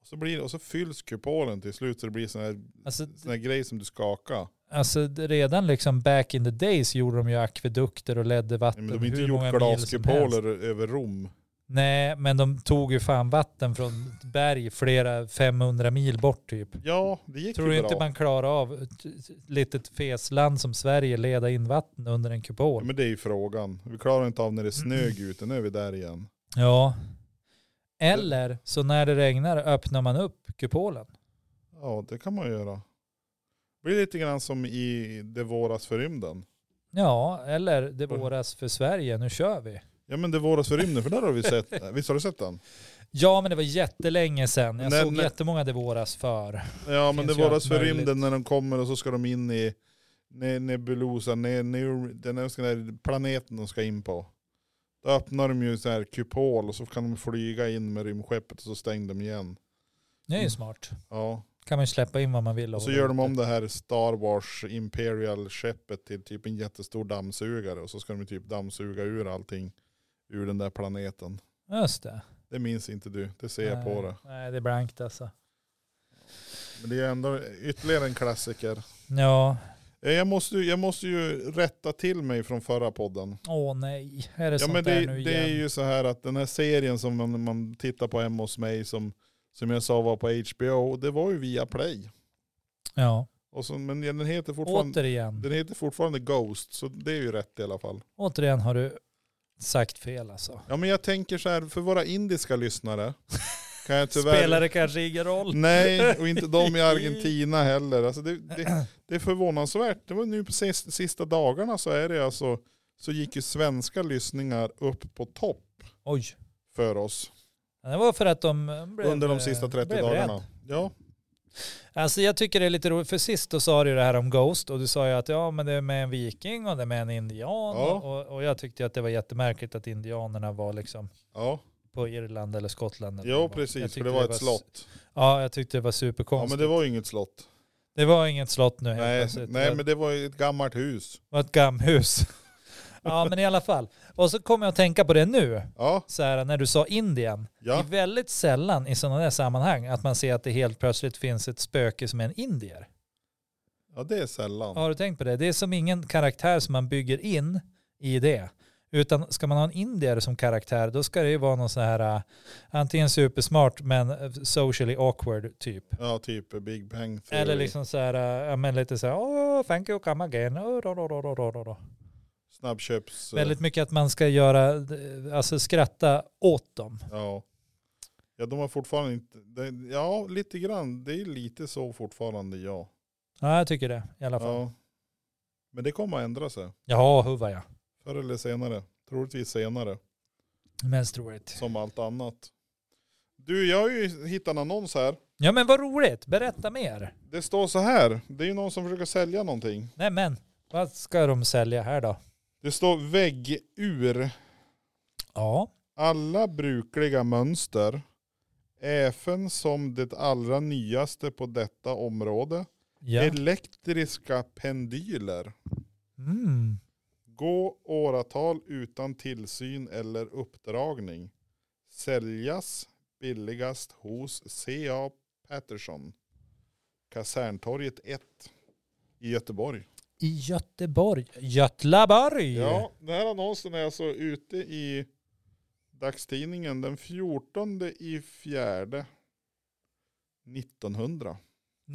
Speaker 1: Och så, blir, och så fylls kupolen till slut så det blir sån här,
Speaker 2: Alltså,
Speaker 1: sån här grej som du skakar.
Speaker 2: alltså det- redan liksom back in the days gjorde de ju akvedukter och ledde vatten
Speaker 1: Men de har inte
Speaker 2: hur många
Speaker 1: gjort
Speaker 2: mil som helst.
Speaker 1: glaskupoler över Rom.
Speaker 2: Nej, men de tog ju fan vatten från ett berg flera 500 mil bort typ.
Speaker 1: Ja, det gick
Speaker 2: Tror
Speaker 1: ju
Speaker 2: du
Speaker 1: bra.
Speaker 2: inte man klarar av ett ett litet fesland som Sverige leda in vatten under en
Speaker 1: Ja,
Speaker 2: kupol?
Speaker 1: men det är ju frågan. Vi klarar inte av när det är snög
Speaker 2: Mm.
Speaker 1: ute, nu är vi där igen.
Speaker 2: Ja. Eller så när det regnar öppnar man upp kupolen.
Speaker 1: Ja, det kan man göra. Det blir lite grann som i Det våras för rymden.
Speaker 2: Ja, eller det våras för Sverige, nu kör vi.
Speaker 1: Ja men Det våras för rymden, för där har vi sett. Visst har du sett den?
Speaker 2: Ja, men det var jättelänge sedan. Jag
Speaker 1: Nej,
Speaker 2: såg
Speaker 1: men-
Speaker 2: jättemånga det våras för.
Speaker 1: Ja men Det
Speaker 2: finns ju
Speaker 1: våras
Speaker 2: allt
Speaker 1: för
Speaker 2: möjligt.
Speaker 1: rymden när de kommer och så ska de in i ne- Nebulosa, ne- ne- den där- den där planeten de ska in på. Då öppnar de ju så här kupol och så kan de flyga in med rymdskeppet och så stänger de igen.
Speaker 2: Det är ju
Speaker 1: Mm.
Speaker 2: smart.
Speaker 1: Ja.
Speaker 2: kan man ju släppa in vad man vill.
Speaker 1: Och så gör de om det här Star Wars Imperial-skeppet till typ en jättestor dammsugare och så ska de typ dammsuga ur allting ur den där planeten.
Speaker 2: Just det.
Speaker 1: Det minns inte du, det ser jag
Speaker 2: Nej,
Speaker 1: på det.
Speaker 2: Nej, det är blankt alltså.
Speaker 1: Men det är ändå ytterligare en klassiker.
Speaker 2: Ja,
Speaker 1: Eh, Jag måste, ju- jag måste ju rätta till mig från förra podden.
Speaker 2: åh nej. Är det
Speaker 1: Ja,
Speaker 2: sånt
Speaker 1: men
Speaker 2: där
Speaker 1: det,
Speaker 2: nu
Speaker 1: det är
Speaker 2: igen?
Speaker 1: ju så här att den här serien som man, man tittar på hemma hos mig som, som jag sa var på HBO, det var ju via Play.
Speaker 2: Ja,
Speaker 1: Och så, men den heter, fortfarande,
Speaker 2: återigen.
Speaker 1: den heter fortfarande Ghost, så det är ju rätt i alla fall.
Speaker 2: Återigen har du sagt fel alltså.
Speaker 1: Ja men jag tänker så här, för våra indiska lyssnare kan jag tyvärr...
Speaker 2: Spelar det kanske ingen roll?
Speaker 1: Nej, och inte de i Argentina heller. Alltså det, det, det är förvånansvärt. Det var nu på sis- sista dagarna så är det alltså, så gick ju svenska lyssningar upp på topp
Speaker 2: Oj.
Speaker 1: för oss
Speaker 2: Ja, Det var för att de eh, blev,
Speaker 1: under de sista 30
Speaker 2: blev rädd.
Speaker 1: dagarna. Ja,
Speaker 2: Alltså jag tycker det är lite roligt, för sist då sa du ju det här om Ghost och du sa ju att ja men det är med en viking och det är med en indian
Speaker 1: Ja.
Speaker 2: och, och jag tyckte ju att det var jättemärkligt att indianerna var liksom
Speaker 1: ja.
Speaker 2: på Irland eller Skottland. eller vad
Speaker 1: ja
Speaker 2: det var. Jag
Speaker 1: precis. För
Speaker 2: tyckte
Speaker 1: det var ett slott.
Speaker 2: Ja, jag tyckte det
Speaker 1: Ja
Speaker 2: var
Speaker 1: men
Speaker 2: superkonstigt.
Speaker 1: det var ju inget slott.
Speaker 2: det... var inget slott nu helt
Speaker 1: Nej,
Speaker 2: plötsligt.
Speaker 1: nej
Speaker 2: det
Speaker 1: men det var ju ett gammalt hus.
Speaker 2: var ett gammhus. ja, men i alla fall. Och så kommer jag att tänka på det nu,
Speaker 1: Ja,
Speaker 2: så här när du sa Indien. Det är
Speaker 1: ja.
Speaker 2: väldigt sällan i sådana där sammanhang att man ser att det helt plötsligt finns ett spöke som är en indier.
Speaker 1: ja det är sällan.
Speaker 2: Har du tänkt på det? Det är som ingen karaktär som man bygger in i det. Utan ska man ha en indier som karaktär då ska det ju vara någon så här äh, antingen supersmart men äh, socially awkward typ.
Speaker 1: Ja typ Big Bang Theory.
Speaker 2: Eller liksom så här, äh, ja, men lite så här, oh, thank you, come again. Oh, då, då, då, då, då, då, då.
Speaker 1: Snabbköps... eh,
Speaker 2: Väldigt mycket att man ska göra, eh, alltså skratta åt dem.
Speaker 1: Ja. Ja, de har fortfarande inte... det- Ja, lite grann. Det är lite så fortfarande, ja.
Speaker 2: Ja, jag tycker det i alla fall.
Speaker 1: ja. Men det kommer att ändra sig.
Speaker 2: Ja, huva ja.
Speaker 1: Förr eller senare. Troligtvis senare.
Speaker 2: Mest roligt.
Speaker 1: Som allt annat. Du, jag har ju hittat en annons här.
Speaker 2: Ja, men vad roligt. Berätta mer.
Speaker 1: Det står så här. Det är ju någon som försöker sälja någonting.
Speaker 2: Nej, men vad ska de sälja här då?
Speaker 1: Det står väggur.
Speaker 2: Ja,
Speaker 1: Alla brukliga mönster. Även som det allra nyaste på detta område.
Speaker 2: ja.
Speaker 1: Elektriska pendyler.
Speaker 2: Mm.
Speaker 1: Gå åratal utan tillsyn eller uppdragning. Säljas billigast hos C.A. Patterson. Kaserntorget 1 i Göteborg.
Speaker 2: I Göteborg. Götlaborg.
Speaker 1: Ja, den här annonsen är alltså ute i dagstidningen den 14 i fjärde 1900.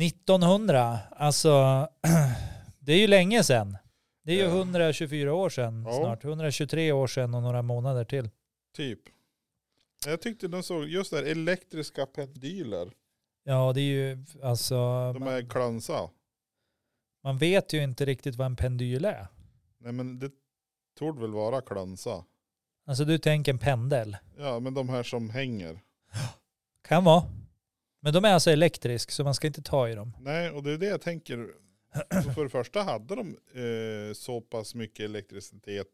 Speaker 2: 1900. Alltså, det är ju länge sedan. Det är ju
Speaker 1: Ja.
Speaker 2: 124 år sedan
Speaker 1: Ja.
Speaker 2: snart. 123 år sedan och några månader till.
Speaker 1: Typ. Jag tyckte den såg, just det här elektriska pendyler.
Speaker 2: Ja, det är ju alltså,
Speaker 1: De
Speaker 2: man,
Speaker 1: är klansa.
Speaker 2: man vet ju inte riktigt vad en pendyl är.
Speaker 1: Nej men det torde väl vara klansa.
Speaker 2: Alltså du tänker en pendel.
Speaker 1: Ja, men de här som hänger.
Speaker 2: Kan vara. Men de är alltså elektrisk så man ska inte ta i dem.
Speaker 1: Nej, och det är det jag tänker. Så För det första hade de eh, så pass mycket elektricitet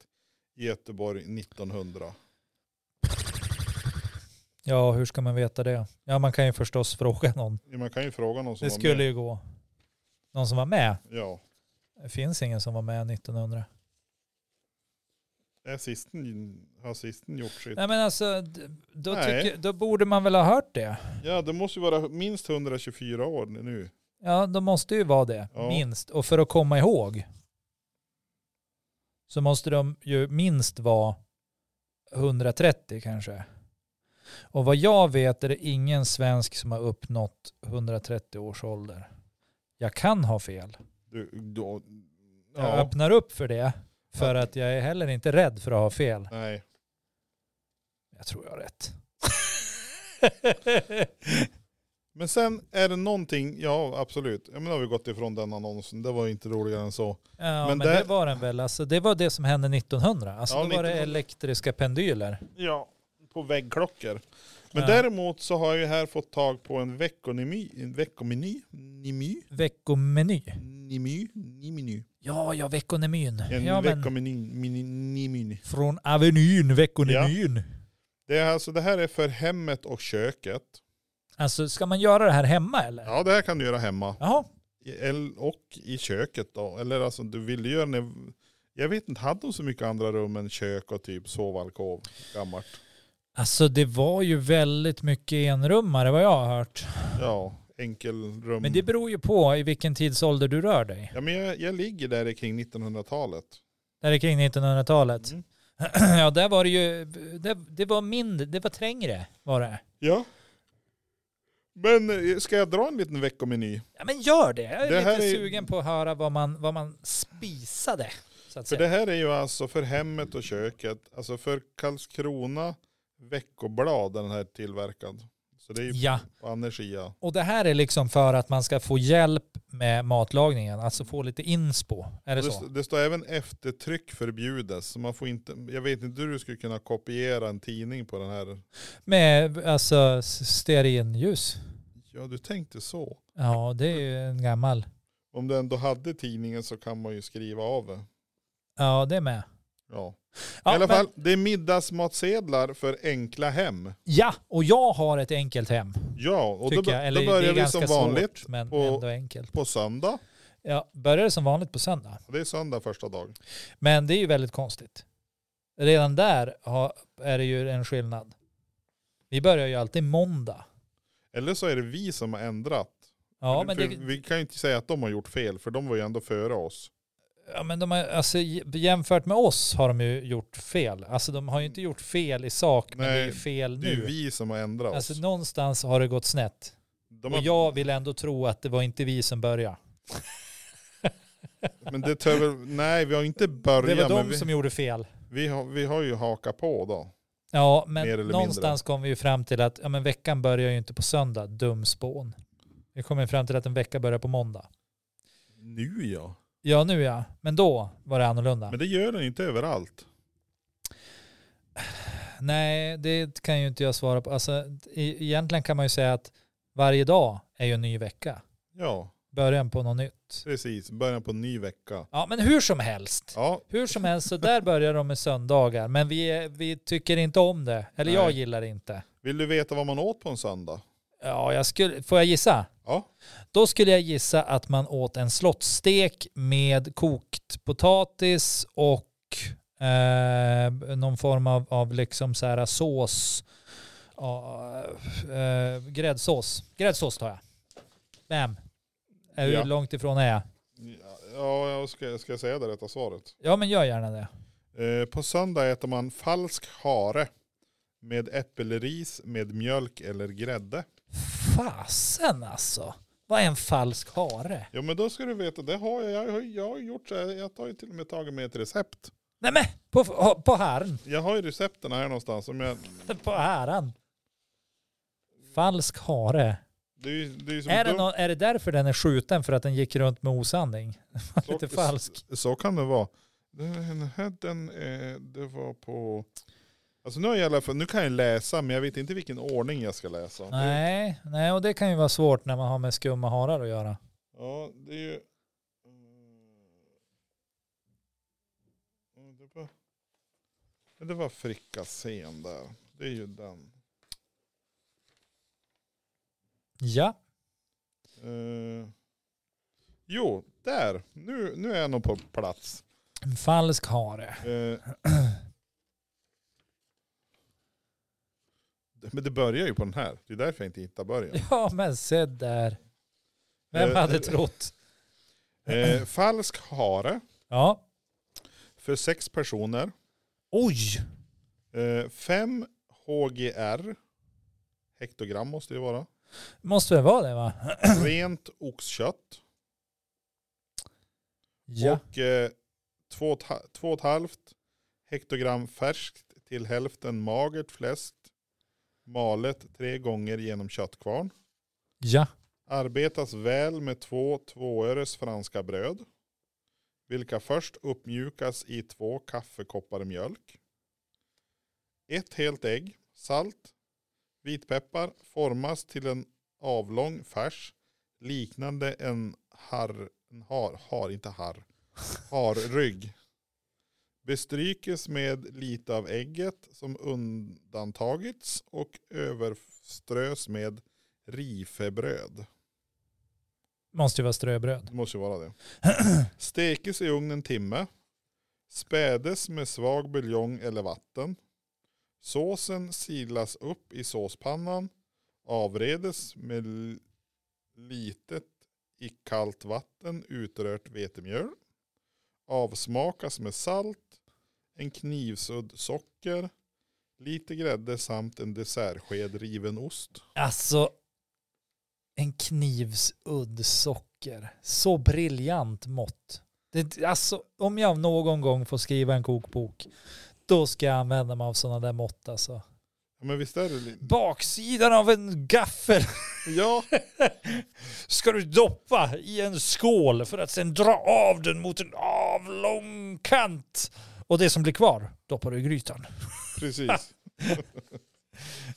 Speaker 1: i Göteborg 1900.
Speaker 2: Ja, hur ska man veta det? Ja, man kan ju förstås fråga någon.
Speaker 1: Ja, Man kan ju fråga någon som
Speaker 2: Det
Speaker 1: var
Speaker 2: skulle
Speaker 1: med.
Speaker 2: ju gå. Någon som var med?
Speaker 1: Ja,
Speaker 2: Det finns ingen som var med 1900.
Speaker 1: är sisten, har sisten gjort sitt?
Speaker 2: Nej men alltså, d- då,
Speaker 1: Nej.
Speaker 2: tycker, då borde man väl ha hört det.
Speaker 1: Ja, det måste ju vara minst 124 år nu.
Speaker 2: Ja, de måste ju vara det,
Speaker 1: Ja.
Speaker 2: minst. Och för att komma ihåg så måste de ju minst vara 130 kanske. Och vad jag vet är det ingen svensk som har uppnått 130 års ålder. Jag kan ha fel.
Speaker 1: Du, då,
Speaker 2: Jag
Speaker 1: ja,
Speaker 2: öppnar upp för det för
Speaker 1: Ja.
Speaker 2: att jag är heller inte rädd för att ha fel.
Speaker 1: nej.
Speaker 2: Jag tror jag har rätt.
Speaker 1: Men sen är det någonting, ja absolut. Ja, men då har vi gått ifrån den annonsen. Det var inte roligare än så.
Speaker 2: Ja, men,
Speaker 1: Men
Speaker 2: det
Speaker 1: där-
Speaker 2: var den väl. Alltså, det var det som hände 1900. Alltså,
Speaker 1: Ja,
Speaker 2: då var det
Speaker 1: 1900.
Speaker 2: elektriska pendyler.
Speaker 1: Ja, på väggklockor. Men
Speaker 2: Ja.
Speaker 1: däremot så har jag ju här fått tag på en veckonimy, en veckomeny, nimy,
Speaker 2: Veckomeny.
Speaker 1: nimy, nimeny.
Speaker 2: Ja, ja, veckonemyn.
Speaker 1: En
Speaker 2: ja, men
Speaker 1: veckomeny, mini, nimeny.
Speaker 2: från Avenyn, veckonemyn.
Speaker 1: Det, är alltså, det här är för hemmet och köket.
Speaker 2: Alltså, ska man göra det här hemma eller?
Speaker 1: Ja, det här kan du göra hemma.
Speaker 2: Jaha,
Speaker 1: I, el- och i köket då. Eller alltså du ville göra när, jag vet inte, hade de så mycket andra rum än kök och typ sovalkov? Gammalt.
Speaker 2: alltså det var ju väldigt mycket enrummare vad jag har hört.
Speaker 1: Ja, enkelrum.
Speaker 2: Men det beror ju på i vilken tidsålder du rör dig.
Speaker 1: Ja, men jag, jag ligger där kring 1900-talet.
Speaker 2: Där är kring 1900-talet.
Speaker 1: Mm.
Speaker 2: Ja, där var det ju, det, det var mindre, det var trängre var det.
Speaker 1: Ja. Men eh, ska jag dra en liten veckomeny?
Speaker 2: Ja, men gör det. Jag är
Speaker 1: Det här
Speaker 2: lite
Speaker 1: är-
Speaker 2: sugen på att höra vad man, vad man spisade. Så att
Speaker 1: För
Speaker 2: säga.
Speaker 1: det här är ju alltså för hemmet och köket. Alltså för Karlskrona veckoblad är den här tillverkad. Så det är ju
Speaker 2: Ja,
Speaker 1: på Andersia.
Speaker 2: och det här är liksom för att man ska få hjälp med matlagningen, alltså få lite inspo. Är det
Speaker 1: Det,
Speaker 2: så?
Speaker 1: st- det står även eftertryck förbjudes. Så man får inte, jag vet inte hur du skulle kunna kopiera en tidning på den här.
Speaker 2: Med alltså s- stearinljus.
Speaker 1: Ja, du tänkte så.
Speaker 2: Ja, det är ju en gammal.
Speaker 1: Om du ändå hade tidningen så kan man ju skriva av det.
Speaker 2: Ja, det är med.
Speaker 1: Ja.
Speaker 2: Ja,
Speaker 1: I alla
Speaker 2: men-
Speaker 1: fall, det är middagsmatsedlar för enkla hem.
Speaker 2: ja, och jag har ett enkelt hem.
Speaker 1: Ja, och då,
Speaker 2: tycker
Speaker 1: bör-
Speaker 2: jag.
Speaker 1: då
Speaker 2: Eller det
Speaker 1: börjar
Speaker 2: är
Speaker 1: vi
Speaker 2: ganska
Speaker 1: som vanligt
Speaker 2: svårt, men
Speaker 1: på-
Speaker 2: ändå enkelt.
Speaker 1: på söndag.
Speaker 2: Ja, börjar det som vanligt på söndag.
Speaker 1: Det är söndag första dag.
Speaker 2: Men det är ju väldigt konstigt. Redan där har, är det ju en skillnad. Vi börjar ju alltid måndag.
Speaker 1: Eller så är det vi som har ändrat.
Speaker 2: Ja,
Speaker 1: För
Speaker 2: men, det,
Speaker 1: Vi kan ju inte säga att de har gjort fel, för de var ju ändå före oss.
Speaker 2: ja, men de har, alltså, jämfört med oss har de ju gjort fel. Alltså de har ju inte gjort fel i sak, men det är ju
Speaker 1: Nej,
Speaker 2: fel
Speaker 1: Det är ju
Speaker 2: nu.
Speaker 1: vi som har ändrat
Speaker 2: Alltså
Speaker 1: oss.
Speaker 2: någonstans har det gått snett.
Speaker 1: De
Speaker 2: Och
Speaker 1: har,
Speaker 2: jag vill ändå tro att det var inte vi som började.
Speaker 1: Men det tör väl, nej vi har inte
Speaker 2: Det
Speaker 1: börjat,
Speaker 2: var
Speaker 1: men
Speaker 2: de
Speaker 1: vi,
Speaker 2: som gjorde fel.
Speaker 1: vi, har, vi har ju hakat på då.
Speaker 2: Ja,
Speaker 1: Mer
Speaker 2: men
Speaker 1: eller
Speaker 2: någonstans kom vi ju fram till att ja, men veckan börjar ju inte på söndag, dumspån. Vi kom ju fram till att en vecka börjar på måndag.
Speaker 1: Nu ja.
Speaker 2: Ja, nu ja. Men då var det annorlunda.
Speaker 1: Men det gör den ju inte överallt.
Speaker 2: Nej, det kan ju inte jag svara på. Alltså, e- egentligen kan man ju säga att varje dag är ju en ny vecka.
Speaker 1: Ja,
Speaker 2: Början på något nytt.
Speaker 1: precis. Början på en ny vecka.
Speaker 2: Ja, men hur som helst.
Speaker 1: Ja,
Speaker 2: Hur som helst, så där börjar de med söndagar. Men vi, är- vi tycker inte om det. Eller jag
Speaker 1: Nej.
Speaker 2: gillar det inte.
Speaker 1: vill du veta vad man åt på en söndag?
Speaker 2: Ja, jag skulle, får jag gissa?
Speaker 1: Ja.
Speaker 2: Då skulle jag gissa att man åt en slottstek med kokt potatis och eh, någon form av, av liksom så här sås. Ja, eh, gräddsås. Gräddsås tar jag. Bam. Eh, Hur
Speaker 1: Ja.
Speaker 2: långt ifrån är jag?
Speaker 1: Ja, jag ska, ska jag säga det rätta svaret?
Speaker 2: Ja men gör gärna det.
Speaker 1: Eh, på söndag äter man falsk hare med äppelris med mjölk eller grädde.
Speaker 2: Fasen alltså. Vad är en falsk hare?
Speaker 1: Ja men då ska du veta, det har jag. Jag har, jag har gjort så här, jag har ju till och med tagit med ett recept.
Speaker 2: Nej men på, på herren.
Speaker 1: Jag har ju recepten här någonstans. Som jag,
Speaker 2: På häran. Falsk hare.
Speaker 1: det är ju, det är ju som
Speaker 2: Är det,
Speaker 1: dumt.
Speaker 2: nå- är det därför den är skjuten? För att den gick runt med osanning?
Speaker 1: Så-
Speaker 2: Lite falsk.
Speaker 1: Så kan det vara. Den här, den, eh, det var på... Alltså nu, har jag, i alla fall- nu kan jag läsa, men jag vet inte vilken ordning jag ska läsa.
Speaker 2: Nej, nej, och det kan ju vara svårt när man har med skumma harar att göra.
Speaker 1: Ja, det är ju... Mm, Det var, Men det var frikassén där. Det är ju den.
Speaker 2: Ja,
Speaker 1: Eh, Jo, där. Nu, nu är jag nog på plats.
Speaker 2: en falsk hare.
Speaker 1: Eh, Men det börjar ju på den här. Det är därför jag inte hittar början.
Speaker 2: Ja, men se där. Vem
Speaker 1: Eh,
Speaker 2: hade trott?
Speaker 1: Eh, falsk hare
Speaker 2: Ja.
Speaker 1: för sex personer.
Speaker 2: Oj!
Speaker 1: Eh, fem HGR. Hektogram måste det vara.
Speaker 2: Måste väl vara det va?
Speaker 1: Rent oxkött.
Speaker 2: Ja.
Speaker 1: Och eh, två, och ett ha- två och ett halvt hektogram färskt till hälften magert fläsk. Malet tre gånger genom köttkvarn.
Speaker 2: Ja.
Speaker 1: Arbetas väl med två tvåöres franska bröd. Vilka först uppmjukas i två kaffekoppar mjölk. Ett helt ägg, salt, vitpeppar formas till en avlång färs liknande en har, en har, har inte har, harrygg. Bestrykes med lite av ägget som undantagits och överströs med rifebröd.
Speaker 2: Måste ju vara ströbröd.
Speaker 1: Det måste ju vara det. Stekes i ugn en timme. Spädes med svag buljong eller vatten. Såsen silas upp i såspannan. Avredes med l- litet i kallt vatten utrört vetemjöl. Avsmakas med salt, en knivsudd socker, lite grädde samt en dessertsked riven ost.
Speaker 2: Alltså, en knivsudd socker. Så briljant mått. Det, alltså, om jag någon gång får skriva en kokbok, då ska jag använda mig av sådana där mått alltså.
Speaker 1: Ja, men visst är det li-
Speaker 2: Baksidan av en gaffel
Speaker 1: Ja,
Speaker 2: ska du doppa i en skål för att sen dra av den mot en avlång kant. Och det som blir kvar doppar du i grytan.
Speaker 1: precis.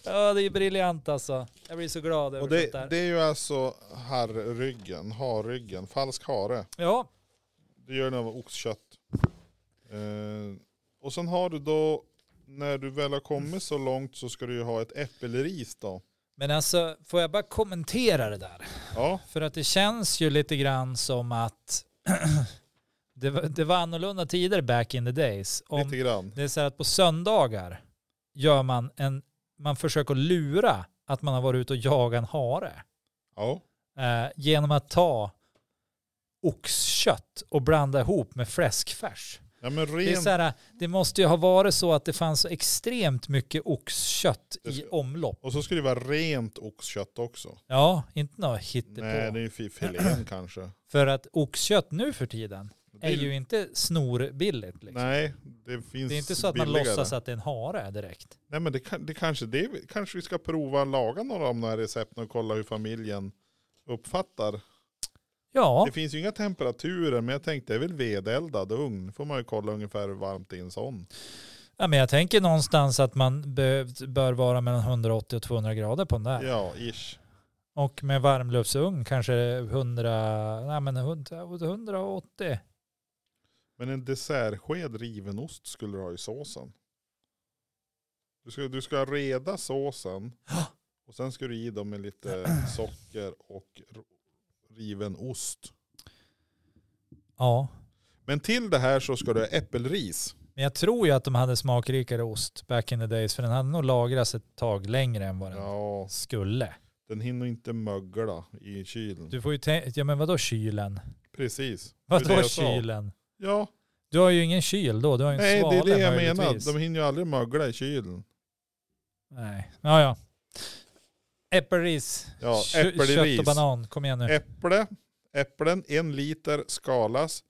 Speaker 2: Ja, det är briljant alltså. Jag blir så glad över
Speaker 1: Och
Speaker 2: det, sånt
Speaker 1: det,
Speaker 2: där.
Speaker 1: det är ju alltså harryggen, harryggen, falsk hare.
Speaker 2: Ja,
Speaker 1: Det gör den av oxkött. Eh, och sen har du då, när du väl har kommit så långt så ska du ju ha ett äppelris då.
Speaker 2: men alltså får jag bara kommentera det där?
Speaker 1: Ja,
Speaker 2: För att det känns ju lite grann som att det, var, det var annorlunda tider back in the days. Om
Speaker 1: lite grann.
Speaker 2: det är så här att på söndagar gör man en, man försöker lura att man har varit ute och jagat en hare.
Speaker 1: Ja,
Speaker 2: eh, genom att ta oxkött och blanda ihop med fläskfärs.
Speaker 1: ja men
Speaker 2: Det, är
Speaker 1: ren,
Speaker 2: så här, det måste ju ha varit så att det fanns så extremt mycket oxkött i omlopp.
Speaker 1: och så ska det vara rent oxkött också.
Speaker 2: Ja, inte något
Speaker 1: Nej,
Speaker 2: hittepå.
Speaker 1: det är ju fi- filén kanske.
Speaker 2: För att oxkött nu för tiden
Speaker 1: Det
Speaker 2: är ju inte snorbilligt. Liksom.
Speaker 1: Nej, det finns
Speaker 2: Det är inte så att man
Speaker 1: billigare.
Speaker 2: låtsas att det är en hare direkt.
Speaker 1: Nej men det, kan- det kanske det är- kanske vi ska prova att laga några av de här recepten och kolla hur familjen uppfattar
Speaker 2: Ja,
Speaker 1: Det finns ju inga temperaturer, men jag tänkte det är väl vedeldad ugn. får man ju kolla ungefär hur varmt det är i en sån.
Speaker 2: ja, men jag tänker någonstans att man behövt, bör vara mellan 180 och 200 grader på den där.
Speaker 1: Ja, ish.
Speaker 2: Och med varmluftsugn kanske 100, nej men 100, 180.
Speaker 1: Men en dessertsked riven ost skulle du ha i såsen. Du ska, du ska reda såsen och sen ska du i dem med lite socker och r- riven ost.
Speaker 2: Ja,
Speaker 1: Men till det här så ska du ha äppelris.
Speaker 2: men jag tror ju att de hade smakrikare ost back in the days för den hade nog lagrats ett tag längre än vad den
Speaker 1: Ja,
Speaker 2: skulle.
Speaker 1: den hinner inte mögla i kylen.
Speaker 2: Du får ju tänka, ja men vadå kylen?
Speaker 1: Precis. Det är det
Speaker 2: Vadå
Speaker 1: jag sa.
Speaker 2: kylen?
Speaker 1: Ja,
Speaker 2: Du har ju ingen kyl då, du har ju en
Speaker 1: nej det
Speaker 2: svale
Speaker 1: är det jag
Speaker 2: möjligtvis.
Speaker 1: menar. De hinner ju aldrig mögla i kylen.
Speaker 2: Nej, ja ja. Äppelris,
Speaker 1: Ja,
Speaker 2: Kö- kött
Speaker 1: äppelris.
Speaker 2: och banan, kom igen nu.
Speaker 1: Äpple, äpplen en liter skalas,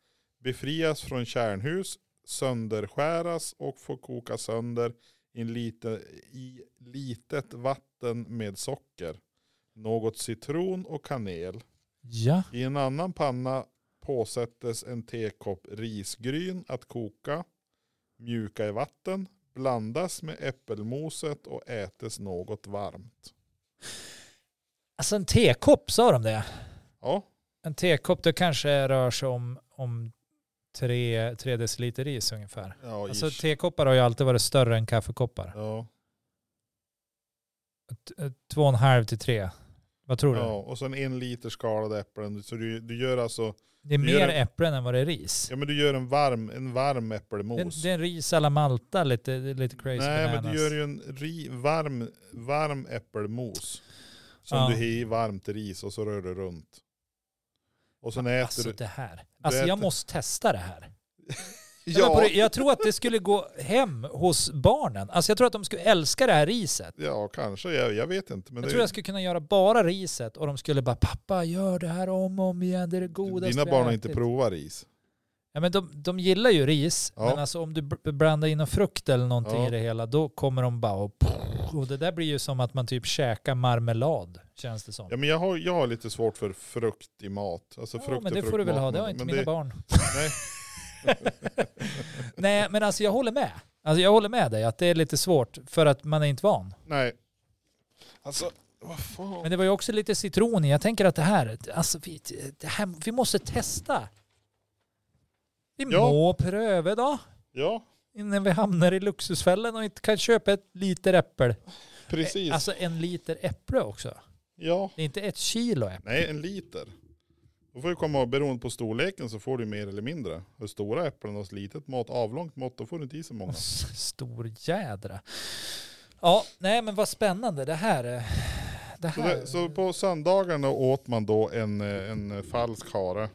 Speaker 1: befrias från kärnhus, sönderskäras och får koka sönder i, en lite, i litet vatten med socker. Något citron och kanel.
Speaker 2: Ja,
Speaker 1: I en annan panna påsättes en tekopp risgryn att koka, mjuka i vatten, blandas med äppelmoset och ätes något varmt.
Speaker 2: alltså en tekopp sa de det.
Speaker 1: Ja,
Speaker 2: En tekopp det kanske rör sig om, om tre, tre deciliter ris ungefär.
Speaker 1: ja,
Speaker 2: Alltså
Speaker 1: ish.
Speaker 2: tekoppar har ju alltid varit större än kaffekoppar.
Speaker 1: ja.
Speaker 2: T- eh, Två och en halv till tre. Vad tror du?
Speaker 1: Ja, och sen en liter skalade äpplen. Så du, du gör alltså,
Speaker 2: Det är
Speaker 1: det
Speaker 2: mer
Speaker 1: gör det-
Speaker 2: äpplen än vad det är ris.
Speaker 1: ja men du gör en varm, en varm
Speaker 2: Det,
Speaker 1: äppelmos.
Speaker 2: är- det är en ris alla Malta, lite, lite crazy
Speaker 1: Nej men
Speaker 2: bananas.
Speaker 1: du gör ju en ri, varm, varm äppelmos. Som
Speaker 2: Ja.
Speaker 1: du har i varmt ris och så rör du runt. Och sen äter
Speaker 2: alltså
Speaker 1: du.
Speaker 2: det här. Alltså
Speaker 1: äter-
Speaker 2: jag måste testa det här. Men på
Speaker 1: Ja,
Speaker 2: det- Jag tror att det skulle gå hem hos barnen. Alltså jag tror att de skulle älska det här riset.
Speaker 1: ja kanske. Jag, jag vet inte. Men
Speaker 2: Jag
Speaker 1: det,
Speaker 2: tror jag skulle kunna göra bara riset och de skulle bara pappa gör det här om och om igen, det är det godaste
Speaker 1: dina
Speaker 2: vi
Speaker 1: barn har inte
Speaker 2: ätit."
Speaker 1: provat ris.
Speaker 2: Ja, men de, de gillar ju ris,
Speaker 1: Ja.
Speaker 2: men alltså om du br- blandar in någon frukt eller någonting
Speaker 1: Ja.
Speaker 2: i det hela, då kommer de bara och, och det där blir ju som att man typ käkar marmelad, känns det som.
Speaker 1: Ja, men jag, har, jag har lite svårt för frukt i mat. Alltså
Speaker 2: Ja,
Speaker 1: frukt
Speaker 2: men
Speaker 1: och
Speaker 2: det får du väl
Speaker 1: fruktmat,
Speaker 2: ha, det har
Speaker 1: men-
Speaker 2: inte
Speaker 1: men
Speaker 2: mina barn.
Speaker 1: Nej.
Speaker 2: Nej, men alltså jag håller med. Alltså jag håller med dig att det är lite svårt för att man är inte van.
Speaker 1: Nej. Alltså, vad fan.
Speaker 2: Men det var ju också lite citron i. Jag tänker att det här, alltså vi, det här, vi måste testa. Vi
Speaker 1: Ja.
Speaker 2: må pröva då,
Speaker 1: Ja,
Speaker 2: innan vi hamnar i luxusfällan och inte kan köpa ett liter äppel.
Speaker 1: precis.
Speaker 2: Alltså en liter äpple också.
Speaker 1: Ja.
Speaker 2: Det är inte ett kilo äpple.
Speaker 1: Nej, en liter. Då får du komma ihåg, beroende på storleken så får du mer eller mindre. Hur stora äpplen och litet mått, avlångt mått, då får du inte i så många.
Speaker 2: S- Stor jädra. Ja, nej men vad spännande det här. eh, Det
Speaker 1: Så,
Speaker 2: här.
Speaker 1: det, så på söndagarna åt man då en, eh, en falsk hare.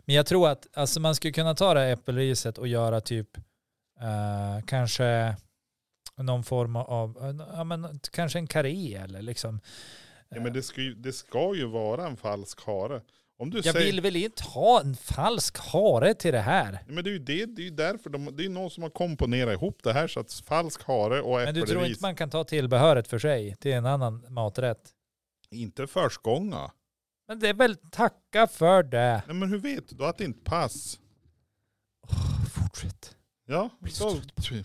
Speaker 2: Men jag tror att alltså, man skulle kunna ta det här äppelriset och göra typ eh, kanske någon form av, ja, men, kanske en karé eller liksom.
Speaker 1: Ja, men det ska, ju, det ska ju vara en falsk hare. Om du
Speaker 2: jag
Speaker 1: säger,
Speaker 2: vill väl inte ha en falsk hare till det här.
Speaker 1: Ja, Men det är ju det, det är ju därför, de, det är ju någon som har komponerat ihop det här så att falsk hare och
Speaker 2: Men du tror
Speaker 1: äppelris.
Speaker 2: inte man kan ta tillbehöret för sig till en annan maträtt?
Speaker 1: Inte förskånga.
Speaker 2: Men det är väl tacka för det.
Speaker 1: Nej men hur vet du då att det inte pass?
Speaker 2: Fortsätt.
Speaker 1: Ja,
Speaker 2: Blir så
Speaker 1: då,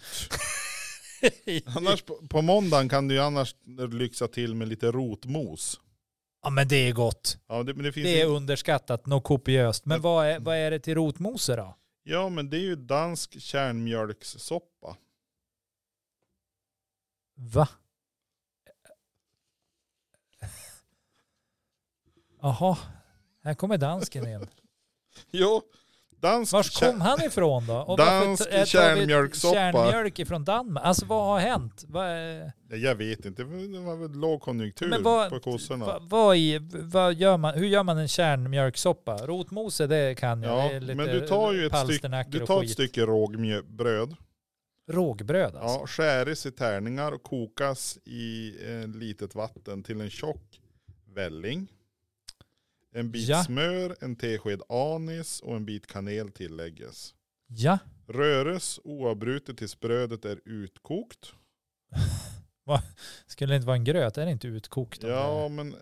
Speaker 1: annars på, på måndagen kan du ju annars lyxa till med lite rotmos.
Speaker 2: Ja men det är gott.
Speaker 1: Ja, det, men det finns
Speaker 2: Det är
Speaker 1: ju-
Speaker 2: underskattat något kopiöst. Men vad är, vad är det till rotmose då?
Speaker 1: ja men det är ju dansk kärnmjölkssoppa.
Speaker 2: Va? Jaha, här kommer dansken igen.
Speaker 1: Jo, dansk
Speaker 2: Vars
Speaker 1: kär-
Speaker 2: kom han ifrån då? Och
Speaker 1: Dansk
Speaker 2: varför t- äh, tar vi
Speaker 1: kärnmjölkssoppa.
Speaker 2: Kärnmjölk ifrån Danmark. Alltså vad har hänt? Vad, är-
Speaker 1: Ja, Jag vet inte, det var väl lågkonjunktur
Speaker 2: Men vad-
Speaker 1: på kossorna.
Speaker 2: vad, vad, i, vad gör man? Hur gör man en kärnmjölkssoppa? Rotmose det kan jag.
Speaker 1: ja,
Speaker 2: det är lite
Speaker 1: men du tar ju ett, styck,
Speaker 2: palsternackor
Speaker 1: du
Speaker 2: och
Speaker 1: tar ett
Speaker 2: skit.
Speaker 1: stycke rågbröd.
Speaker 2: Rågbröd alltså.
Speaker 1: Ja, skäres i tärningar och kokas i eh, litet vatten till en tjock välling. En bit
Speaker 2: Ja.
Speaker 1: smör, en tesked anis och en bit kanel tillägges.
Speaker 2: Ja.
Speaker 1: Röres oavbrutet tills brödet är utkokt.
Speaker 2: Skulle det inte vara en gröt? Är det inte utkokt? om
Speaker 1: Ja,
Speaker 2: det-
Speaker 1: men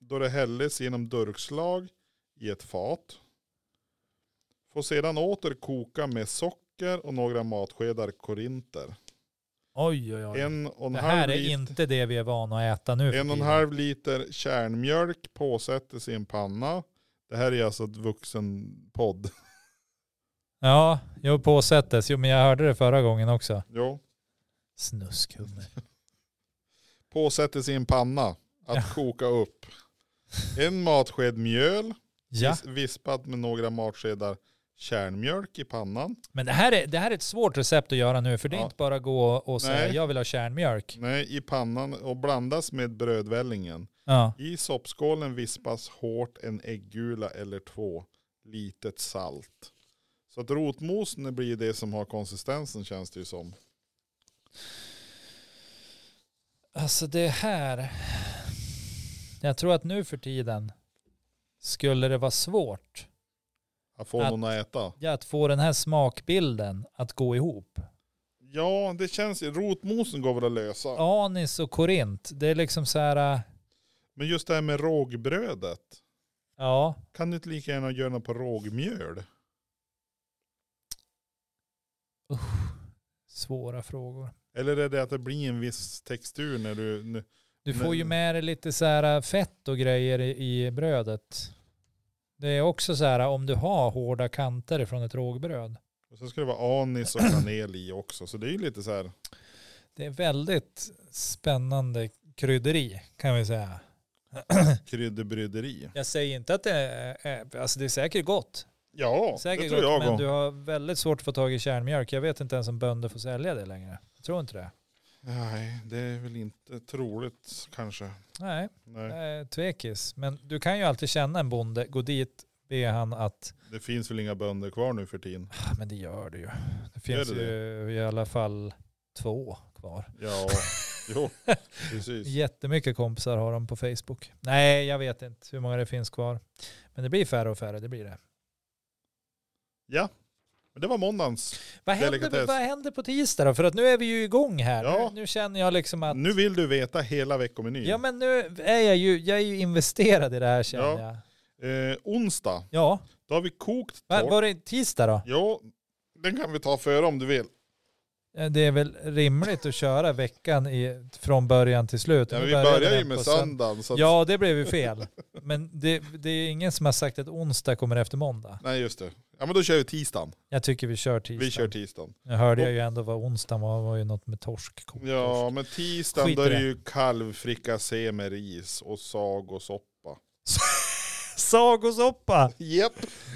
Speaker 1: då det hälles genom durkslag i ett fat. Får sedan åter koka med socker och några matskedar korinter.
Speaker 2: Oj, oj, oj.
Speaker 1: En och en
Speaker 2: det
Speaker 1: halv
Speaker 2: här är
Speaker 1: liter-
Speaker 2: inte det vi är vana att äta nu. för
Speaker 1: En och en
Speaker 2: tiden.
Speaker 1: halv liter kärnmjölk påsättes i en panna. Det här är alltså ett vuxenpodd.
Speaker 2: Ja, jo påsättes. Jo men jag hörde det förra gången också.
Speaker 1: Jo.
Speaker 2: Snuskhumme.
Speaker 1: Påsättes i en panna. Att
Speaker 2: Ja.
Speaker 1: koka upp. En matsked mjöl.
Speaker 2: Ja,
Speaker 1: vis- Vispat med några matskedar kärnmjölk i pannan.
Speaker 2: men det här, är, det här är ett svårt recept att göra nu för det är
Speaker 1: Ja.
Speaker 2: inte bara gå och säga
Speaker 1: Nej. Mm.
Speaker 2: jag vill ha kärnmjölk.
Speaker 1: Nej, i pannan och blandas med brödvällingen.
Speaker 2: Ja.
Speaker 1: I soppskålen vispas hårt en äggula eller två. Litet salt. Så att rotmosen blir det som har konsistensen känns det ju som.
Speaker 2: Alltså det här. Jag tror att nu för tiden skulle det vara svårt
Speaker 1: Att få
Speaker 2: Att-
Speaker 1: någon att äta.
Speaker 2: ja, att få den här smakbilden att gå ihop.
Speaker 1: Ja, det känns ju. Rotmosen går väl att lösa.
Speaker 2: Anis och korint, det är liksom så här, äh,
Speaker 1: Men just det här med rågbrödet.
Speaker 2: ja,
Speaker 1: Kan du inte lika gärna göra något på rågmjöl?
Speaker 2: svåra frågor.
Speaker 1: Eller är det att det blir en viss textur när du... n-
Speaker 2: Du
Speaker 1: Men-
Speaker 2: får ju med dig lite så här äh, fett och grejer i, i brödet. Det är också så här äh, om du har hårda kanter från ett rågbröd.
Speaker 1: Och så ska det vara anis och kanel i också. Så det är ju lite så här.
Speaker 2: Det är väldigt spännande krydderi kan vi säga.
Speaker 1: Kryddbryderi.
Speaker 2: Jag säger inte att det är, är- alltså det är säkert gott.
Speaker 1: Ja, det
Speaker 2: Säkert
Speaker 1: tror jag
Speaker 2: gott, men
Speaker 1: om.
Speaker 2: du har väldigt svårt att få tag i kärnmjölk. Jag vet inte ens om bönder får sälja det längre. Jag tror inte det.
Speaker 1: Nej, det är väl inte troligt kanske.
Speaker 2: Nej,
Speaker 1: Nej.
Speaker 2: eh, tvekis. Men du kan ju alltid känna en bonde, gå dit, be det är han att
Speaker 1: Det finns väl inga bönder kvar nu för tiden.
Speaker 2: Ah, Men det gör det ju. Det finns
Speaker 1: det
Speaker 2: ju i alla fall två kvar.
Speaker 1: Ja, jo, precis.
Speaker 2: Jättemycket kompisar har de på Facebook. Nej, jag vet inte hur många det finns kvar. Men det blir färre och färre, det blir det.
Speaker 1: Ja, men det var måndagens.
Speaker 2: Vad händer,
Speaker 1: Delikatess.
Speaker 2: vad händer på tisdag då? För att nu är vi ju igång här.
Speaker 1: Ja. Mm.
Speaker 2: Nu, nu känner jag liksom att...
Speaker 1: Nu vill du veta hela veckomenyn.
Speaker 2: Ja men nu är jag ju, jag är ju investerad i det här känner
Speaker 1: Ja.
Speaker 2: jag.
Speaker 1: Eh, onsdag,
Speaker 2: Ja,
Speaker 1: då har vi kokt
Speaker 2: Va-
Speaker 1: torsk.
Speaker 2: var det tisdag då?
Speaker 1: Jo, den kan vi ta före om du vill.
Speaker 2: Eh, Det är väl rimligt att köra veckan i, från början till slut.
Speaker 1: Ja,
Speaker 2: Nu
Speaker 1: men vi
Speaker 2: började
Speaker 1: börjar ju
Speaker 2: den
Speaker 1: med
Speaker 2: på söndag.
Speaker 1: söndagen. Så att,
Speaker 2: Ja, det blev ju fel. Men det, det är ingen som har sagt att onsdag kommer efter måndag.
Speaker 1: Nej, just det. Ja, men då kör vi tisdagen.
Speaker 2: Jag tycker vi kör tisdag.
Speaker 1: Vi kör tisdagen.
Speaker 2: Nu hörde jag ju ändå vad onsdag var, var ju något med torsk. kokt
Speaker 1: Ja,
Speaker 2: torsk.
Speaker 1: men tisdagen
Speaker 2: Skit
Speaker 1: då
Speaker 2: i
Speaker 1: är
Speaker 2: det.
Speaker 1: det ju kalvfrikassé med ris och sagosoppa.
Speaker 2: Sagosoppa!
Speaker 1: Japp.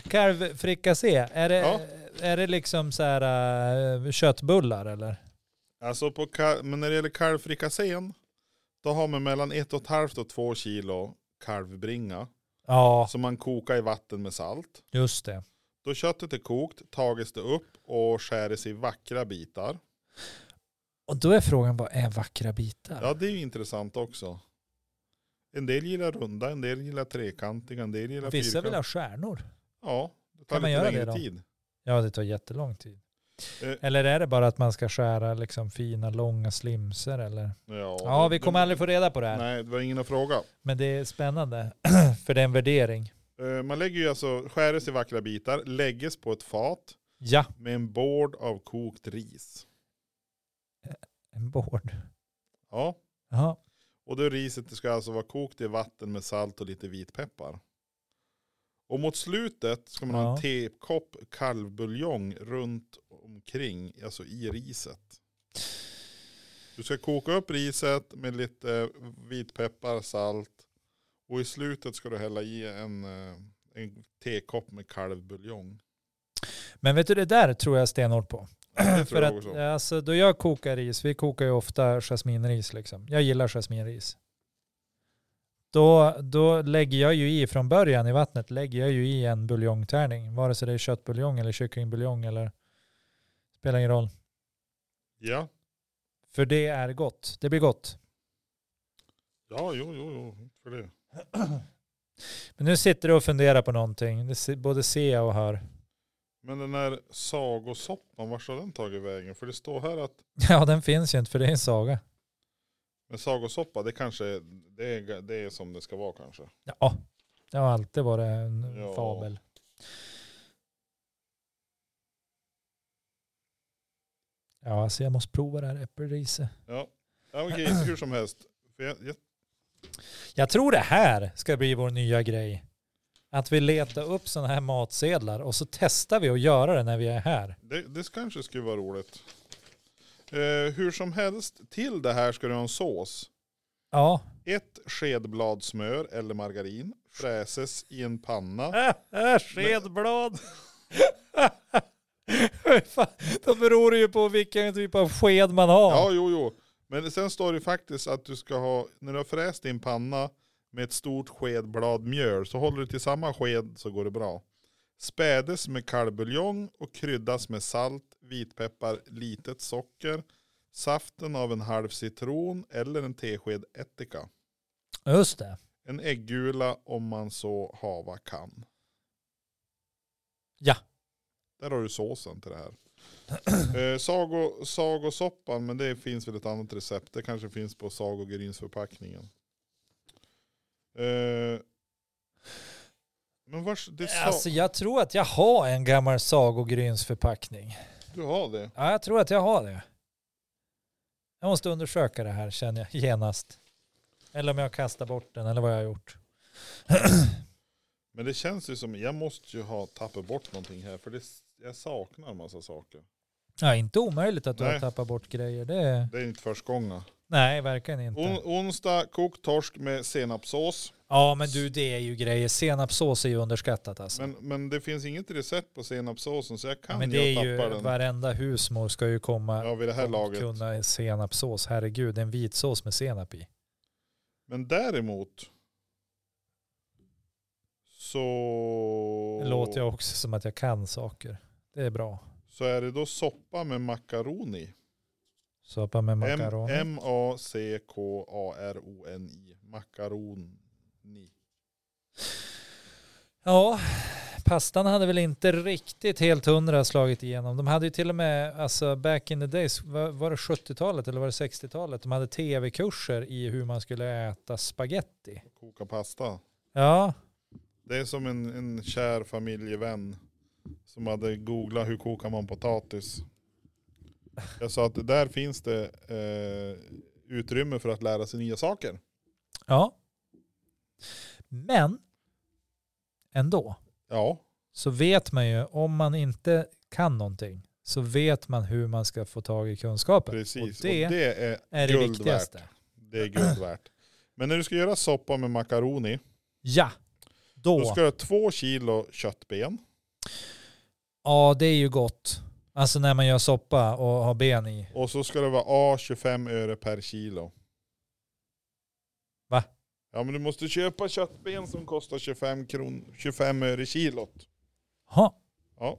Speaker 2: Kalvfrikassé. Är det,
Speaker 1: Ja.
Speaker 2: är det liksom så här äh, köttbullar eller?
Speaker 1: Alltså på ka- men när det gäller kalvfrikassén, då har man mellan ett och ett halvt och två kilo kalvbringa
Speaker 2: Ja,
Speaker 1: som man kokar i vatten med salt.
Speaker 2: just det.
Speaker 1: Då köttet är kokt tages det upp och skäres i vackra bitar.
Speaker 2: Och då är frågan vad är vackra bitar?
Speaker 1: Ja, det är ju intressant också. En del gillar runda, en del gillar trekantiga, en del gillar
Speaker 2: Vissa vill
Speaker 1: fyrkantiga.
Speaker 2: ha stjärnor.
Speaker 1: Ja, det tar
Speaker 2: Kan man
Speaker 1: lite
Speaker 2: göra
Speaker 1: längre
Speaker 2: det då?
Speaker 1: tid.
Speaker 2: Ja, det tar jättelång tid.
Speaker 1: Eh.
Speaker 2: Eller är det bara att man ska skära liksom fina långa slimser eller?
Speaker 1: Ja,
Speaker 2: Ja,
Speaker 1: det-
Speaker 2: vi
Speaker 1: det-
Speaker 2: kommer aldrig få reda på det här.
Speaker 1: Nej, det var ingen att fråga.
Speaker 2: Men det är spännande, för det är en värdering.
Speaker 1: Eh, Man lägger ju alltså, skäres i vackra bitar, lägges på ett fat
Speaker 2: Ja,
Speaker 1: med en bord av kokt ris.
Speaker 2: en board.
Speaker 1: Ja,
Speaker 2: Jaha.
Speaker 1: och det riset ska alltså vara kokt i vatten med salt och lite vitpeppar. Och mot slutet ska man ha
Speaker 2: Ja.
Speaker 1: en tekopp kalvbuljong runt omkring, alltså i riset. Du ska koka upp riset med lite vitpeppar, salt och i slutet ska du hälla i en, eh, en tekopp med kalvbuljong.
Speaker 2: Men vet du, det där tror jag stenhårt på.
Speaker 1: Det tror
Speaker 2: För
Speaker 1: jag också.
Speaker 2: att alltså, då jag kokar ris, vi kokar ju ofta jasminris liksom. Jag gillar jasminris. Då, då lägger jag ju i från början i vattnet, lägger jag ju i en buljongtärning. Vare sig det är köttbuljong eller kycklingbuljong eller spelar ingen roll.
Speaker 1: Ja,
Speaker 2: För det är gott. Det blir gott.
Speaker 1: ja jo, jo, jo, för det.
Speaker 2: Men nu sitter du och funderar på någonting. Det se- både ser jag och hör.
Speaker 1: Men den här sagosoppan, vart har den tagit vägen? För det står här att
Speaker 2: Ja, den finns ju inte för det är en saga.
Speaker 1: Men sagosoppa, det kanske det är, det är som det ska vara kanske.
Speaker 2: Ja, det har alltid varit en
Speaker 1: Ja.
Speaker 2: fabel. Ja, alltså jag måste prova det här äppelriset.
Speaker 1: Ja, ja okej, hur som helst. För jag, jag,
Speaker 2: Jag tror det här ska bli vår nya grej. Att vi letar upp sådana här matsedlar och så testar vi att göra det när vi är här.
Speaker 1: det, det kanske skulle vara roligt. Eh, hur som helst, till det här ska du ha en sås.
Speaker 2: Ja.
Speaker 1: Ett skedblad smör eller margarin fräses i en panna.
Speaker 2: Skedblad. Fan, Då beror det ju på vilken typ av sked man har.
Speaker 1: Ja, jo, jo. Men sen står det faktiskt att du ska ha, när du har fräst din panna med ett stort skedblad mjöl, så håller du till samma sked så går det bra. Spädes med kalvbuljong och kryddas med salt, vitpeppar, litet socker, saften av en halv citron eller en tesked ättika.
Speaker 2: Just det.
Speaker 1: En äggula om man så hava kan.
Speaker 2: Ja.
Speaker 1: Där har du såsen till det här. Eh, sago, sagosoppan, men det finns väl ett annat recept. Det kanske finns på sagogrynsförpackningen. Eh, men vars, det sa,
Speaker 2: Alltså jag tror att jag har en gammal sagogrynsförpackning.
Speaker 1: du har det?
Speaker 2: Ja, jag tror att jag har det. Jag måste undersöka det här känner jag genast. Eller om jag kastar bort den eller vad jag har gjort.
Speaker 1: Men det känns ju som, jag måste ju ha tappat bort någonting här. För det, jag saknar en massa saker.
Speaker 2: Ja, inte omöjligt att du har
Speaker 1: Nej.
Speaker 2: tappat bort grejer. Det...
Speaker 1: Det är inte första gången.
Speaker 2: Nej, verkligen inte.
Speaker 1: On, onsdag, kokt torsk med senapssås.
Speaker 2: Ja, men du det är ju grejer. Senapssås är ju underskattat alltså.
Speaker 1: Men, men det finns inget recept på senapssåsen så jag kan
Speaker 2: men
Speaker 1: ju
Speaker 2: det är
Speaker 1: ha
Speaker 2: ju,
Speaker 1: tappat den.
Speaker 2: varenda husmor ska ju komma
Speaker 1: Ja, vid det här
Speaker 2: och
Speaker 1: laget.
Speaker 2: kunna senapssås. Herregud, en vitsås med senap i.
Speaker 1: Men däremot så,
Speaker 2: Det låter jag också som att jag kan saker. Det är bra.
Speaker 1: så är det då soppa med makaroni.
Speaker 2: Soppa med
Speaker 1: M-
Speaker 2: makaroner.
Speaker 1: M-A-C-K-A-R-O-N-I. Makaroni.
Speaker 2: Ja, pastan hade väl inte riktigt helt hundra slagit igenom. De hade ju till och med, alltså back in the days, var, var det 70-talet eller var det 60-talet? De hade tv-kurser i hur man skulle äta spaghetti.
Speaker 1: Koka pasta.
Speaker 2: Ja,
Speaker 1: Det är som en, en kär familjevän som hade googlat hur kokar man potatis. Jag sa att där finns det eh, utrymme för att lära sig nya saker.
Speaker 2: ja. Men ändå
Speaker 1: Ja,
Speaker 2: så vet man ju om man inte kan någonting så vet man hur man ska få tag i kunskapen.
Speaker 1: precis.
Speaker 2: Och det,
Speaker 1: Och det är,
Speaker 2: är det
Speaker 1: guld
Speaker 2: viktigaste.
Speaker 1: det är guld värt. Men när du ska göra soppa med makaroni,
Speaker 2: Ja,
Speaker 1: då ska du ha två kilo köttben.
Speaker 2: Ja, det är ju gott. Alltså när man gör soppa och har ben i.
Speaker 1: Och så ska det vara A 25 öre per kilo.
Speaker 2: Va?
Speaker 1: Ja men du måste köpa köttben som kostar 25, kron, 25 öre kilot.
Speaker 2: Ha.
Speaker 1: Ja.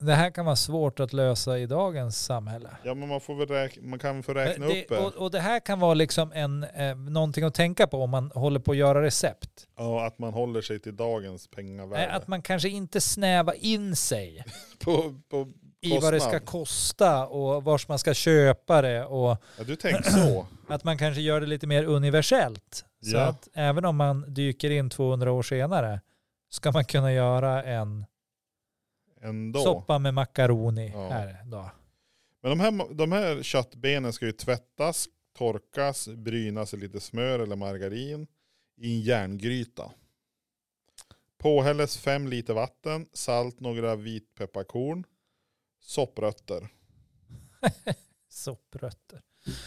Speaker 2: Det här kan vara svårt att lösa i dagens samhälle.
Speaker 1: Ja men man, får väl räkna, man kan få räkna
Speaker 2: Eh, det,
Speaker 1: upp det.
Speaker 2: och, och det här kan vara liksom en, eh, någonting att tänka på om man håller på att göra recept.
Speaker 1: Ja, att man håller sig till dagens
Speaker 2: Eh,
Speaker 1: pengavärde.
Speaker 2: Att man kanske inte snävar in sig
Speaker 1: på, på,
Speaker 2: i vad det ska
Speaker 1: Kostnad.
Speaker 2: kosta och vars man ska köpa det. Och
Speaker 1: ja, du tänker så.
Speaker 2: att man kanske gör det lite mer universellt. Så
Speaker 1: Ja.
Speaker 2: att även om man dyker in 200 år senare ska man kunna göra en
Speaker 1: Ändå.
Speaker 2: Soppa med makaroni
Speaker 1: Ja.
Speaker 2: här då.
Speaker 1: Men de här, de här köttbenen ska ju tvättas, torkas, brynas i lite smör eller margarin i en järngryta. Påhälles fem liter vatten, salt, några vitpepparkorn, sopprötter.
Speaker 2: Sopprötter.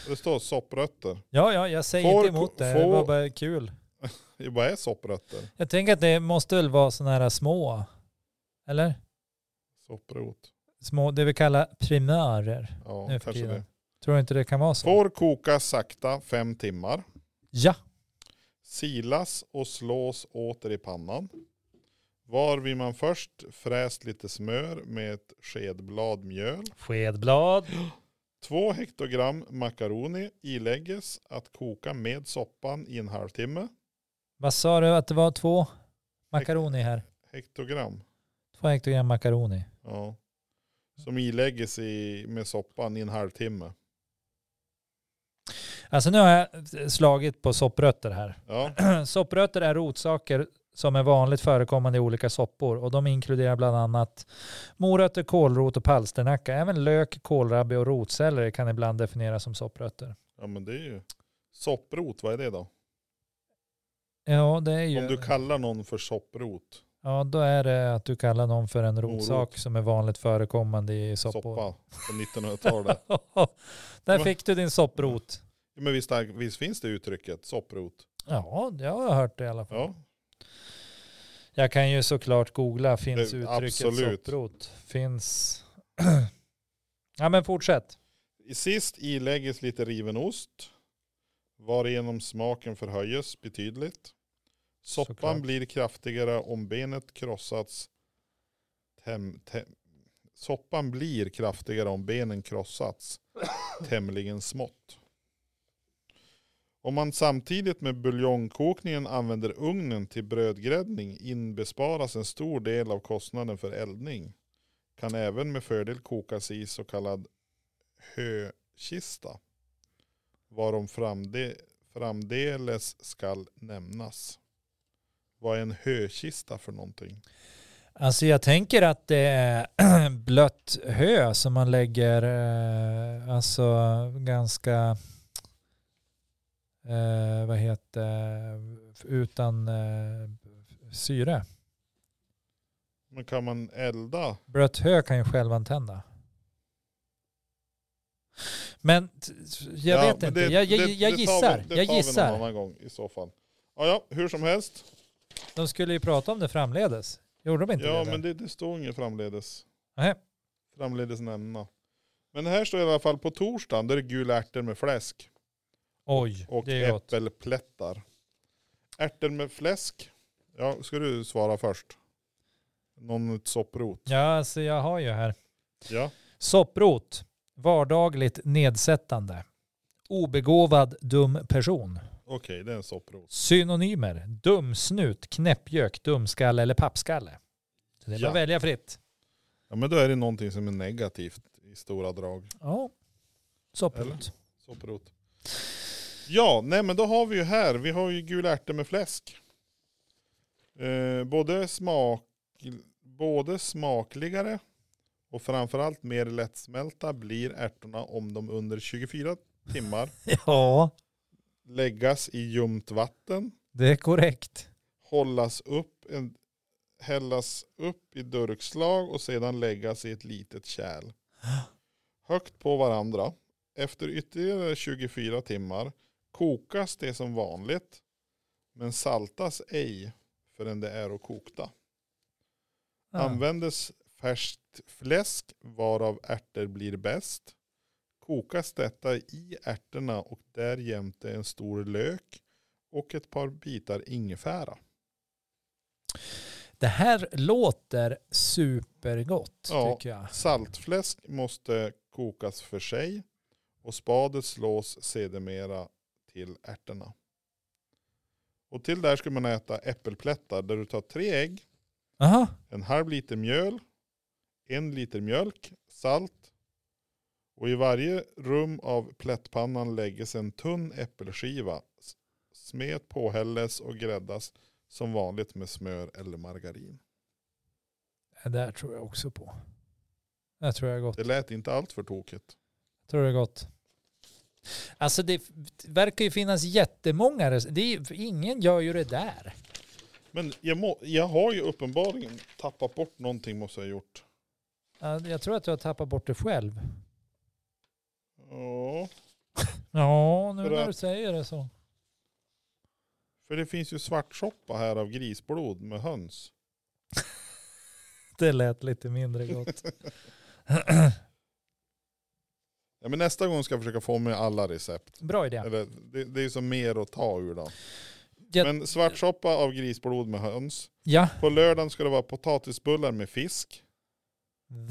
Speaker 1: Det står sopprötter.
Speaker 2: Ja, ja, jag säger
Speaker 1: Får-
Speaker 2: inte emot det. Det
Speaker 1: får-
Speaker 2: var bara kul.
Speaker 1: Det bara är sopprötter.
Speaker 2: Jag tänker att det måste väl vara sådana här små, eller?
Speaker 1: Sopprot.
Speaker 2: Små, det vi kallar primörer
Speaker 1: Ja,
Speaker 2: nu för
Speaker 1: kanske
Speaker 2: tiden.
Speaker 1: det.
Speaker 2: Tror du inte det kan vara så?
Speaker 1: Får kokas sakta fem timmar.
Speaker 2: Ja,
Speaker 1: Silas och slås åter i pannan. Varvid man först fräst lite smör med ett skedblad mjöl.
Speaker 2: skedblad.
Speaker 1: 2 hektogram makaroni ilägges att koka med soppan i en halvtimme.
Speaker 2: Vad sa du att det var två makaroni här?
Speaker 1: Hektogram.
Speaker 2: Två hektogram makaroni.
Speaker 1: Ja. Som ilägges i, med soppan i en halvtimme.
Speaker 2: Alltså nu har jag slagit på sopprötter här.
Speaker 1: Ja,
Speaker 2: Sopprötter är rotsaker som är vanligt förekommande i olika soppor och de inkluderar bland annat morötter, kålrot och palsternacka. Även lök, kålrabbi och rotselleri kan ibland definieras som sopprötter.
Speaker 1: ja men det är ju sopprot, vad är det då?
Speaker 2: Ja, det är
Speaker 1: Om
Speaker 2: ju...
Speaker 1: du kallar någon för sopprot,
Speaker 2: Ja, då är det att du kallar någon för en
Speaker 1: Morot.
Speaker 2: rotsak som är vanligt förekommande i soppor.
Speaker 1: soppa på 1900-talet.
Speaker 2: Där fick du din sopprot.
Speaker 1: Ja, men visst, visst finns det uttrycket sopprot?
Speaker 2: Ja, jag har hört det i alla fall.
Speaker 1: Ja,
Speaker 2: Jag kan ju såklart googla, finns
Speaker 1: Det-
Speaker 2: uttrycket
Speaker 1: absolut.
Speaker 2: sopprot? Finns... ja, men fortsätt.
Speaker 1: I Sist ilägges lite riven ost, varigenom smaken förhöjes betydligt. Soppan
Speaker 2: Såklart.
Speaker 1: blir kraftigare om benet krossats. Tem, tem, soppan blir kraftigare om benen krossats tämligen smått. Om man samtidigt med buljongkokningen använder ugnen till brödgräddning inbesparas en stor del av kostnaden för eldning. Kan även med fördel kokas i så kallad hökista. Varom framde, framdeles skall nämnas. Vad är en hökista för någonting?
Speaker 2: Alltså jag tänker att det är blött hö som man lägger eh, alltså ganska eh, vad heter utan eh, syre.
Speaker 1: Men kan man elda?
Speaker 2: Blött hö kan ju självantända. Men t- jag
Speaker 1: Ja,
Speaker 2: vet
Speaker 1: men
Speaker 2: inte,
Speaker 1: det-
Speaker 2: jag, jag,
Speaker 1: det-
Speaker 2: jag
Speaker 1: det tar
Speaker 2: gissar.
Speaker 1: vi- Det tar vi
Speaker 2: Jag
Speaker 1: någon
Speaker 2: gissar.
Speaker 1: annan gång i så fall. Ja, ja hur som helst.
Speaker 2: De skulle ju prata om det framledes. Gjorde de inte
Speaker 1: Ja,
Speaker 2: det?
Speaker 1: men
Speaker 2: där?
Speaker 1: det, det står inget framledes.
Speaker 2: Nej.
Speaker 1: Framledes nämna. Men här står i alla fall på torsdagen, då är det gula ärtor med fläsk.
Speaker 2: Oj,
Speaker 1: Och
Speaker 2: det är gott.
Speaker 1: äppelplättar. Ärtor med fläsk. Ja, ska du svara först? Någon sopprot?
Speaker 2: Ja, alltså jag har ju här.
Speaker 1: Ja.
Speaker 2: Sopprot. Vardagligt nedsättande. Obegåvad dum person.
Speaker 1: Okej, det är en sopprot.
Speaker 2: Synonymer. Dumsnut, knäppjök, dumskalle eller pappskalle. Så det är bara
Speaker 1: Ja.
Speaker 2: att välja fritt.
Speaker 1: Ja, men då är det någonting som är negativt i stora drag.
Speaker 2: Ja. Sopprot.
Speaker 1: Sopprot. Ja, nej men då har vi ju här, vi har ju gula ärtor med fläsk. Eh, både, smak, både smakligare och framförallt mer lättsmälta blir ärtorna om de under 24 timmar
Speaker 2: Ja,
Speaker 1: läggas i ljumt vatten,
Speaker 2: det är korrekt.
Speaker 1: hållas upp, en, hällas upp i durkslag och sedan läggas i ett litet kärl. Högt på varandra. Efter ytterligare 24 timmar kokas det som vanligt men saltas ej förrän det är och kokta.
Speaker 2: Ja.
Speaker 1: Användes färskt fläsk varav ärtor blir bäst. Kokas detta i ärtorna och därjämte en stor lök och ett par bitar ingefära.
Speaker 2: Det här låter supergott
Speaker 1: Ja.
Speaker 2: tycker jag.
Speaker 1: Saltfläsk måste kokas för sig och spadet slås sedermera till ärtorna. Och till det här ska man äta äppelplättar där du tar tre ägg,
Speaker 2: Aha.
Speaker 1: en halv liter mjöl, en liter mjölk, salt och i varje rum av plättpannan läggs en tunn äppelskiva. S- Smet påhälles och gräddas som vanligt med smör eller margarin.
Speaker 2: Det där tror jag också på. Det tror jag är gott.
Speaker 1: Det lät inte allt för tokigt.
Speaker 2: Tror det är gott. Alltså det verkar ju finnas jättemånga. rec- Det är, ju- ingen gör ju det där.
Speaker 1: Men jag, må, jag har ju uppenbarligen tappat bort någonting måste jag ha gjort.
Speaker 2: Ja, Jag tror att du har tappat bort det själv.
Speaker 1: Ja,
Speaker 2: Ja, nu
Speaker 1: För
Speaker 2: när
Speaker 1: att-
Speaker 2: du säger det så.
Speaker 1: för det finns ju svartsoppa här av grisblod med höns.
Speaker 2: Det lät lite mindre gott.
Speaker 1: Ja, men nästa gång ska jag försöka få med alla recept.
Speaker 2: Bra idé.
Speaker 1: Eller, det, det är ju som mer att ta ur då.
Speaker 2: Jag-
Speaker 1: Men svartsoppa av grisblod med höns.
Speaker 2: Ja.
Speaker 1: På lördagen ska det vara potatisbullar med fisk.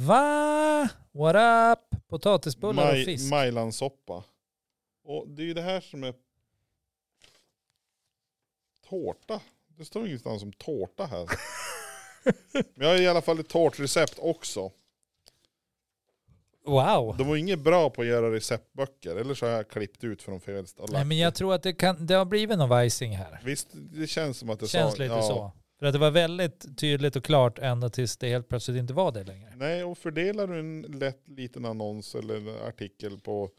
Speaker 2: Va? What up? Potatisbullar och
Speaker 1: Maj,
Speaker 2: fisk.
Speaker 1: majlansoppa. Och det är ju det här som är tårta. Det står ingenstans om tårta här. Men jag har i alla fall ett tårtrecept också.
Speaker 2: Wow.
Speaker 1: De var inget bra på att göra receptböcker. Eller så har jag klippt ut från fel ställe.
Speaker 2: Nej, men jag tror att det, kan, det har blivit någon vajsing här.
Speaker 1: Visst, det känns som att det
Speaker 2: Det känns
Speaker 1: sa-
Speaker 2: lite
Speaker 1: ja.
Speaker 2: så. För att det var väldigt tydligt och klart ända tills det helt plötsligt inte var det längre.
Speaker 1: Nej, och fördelar du en lätt liten annons eller en artikel på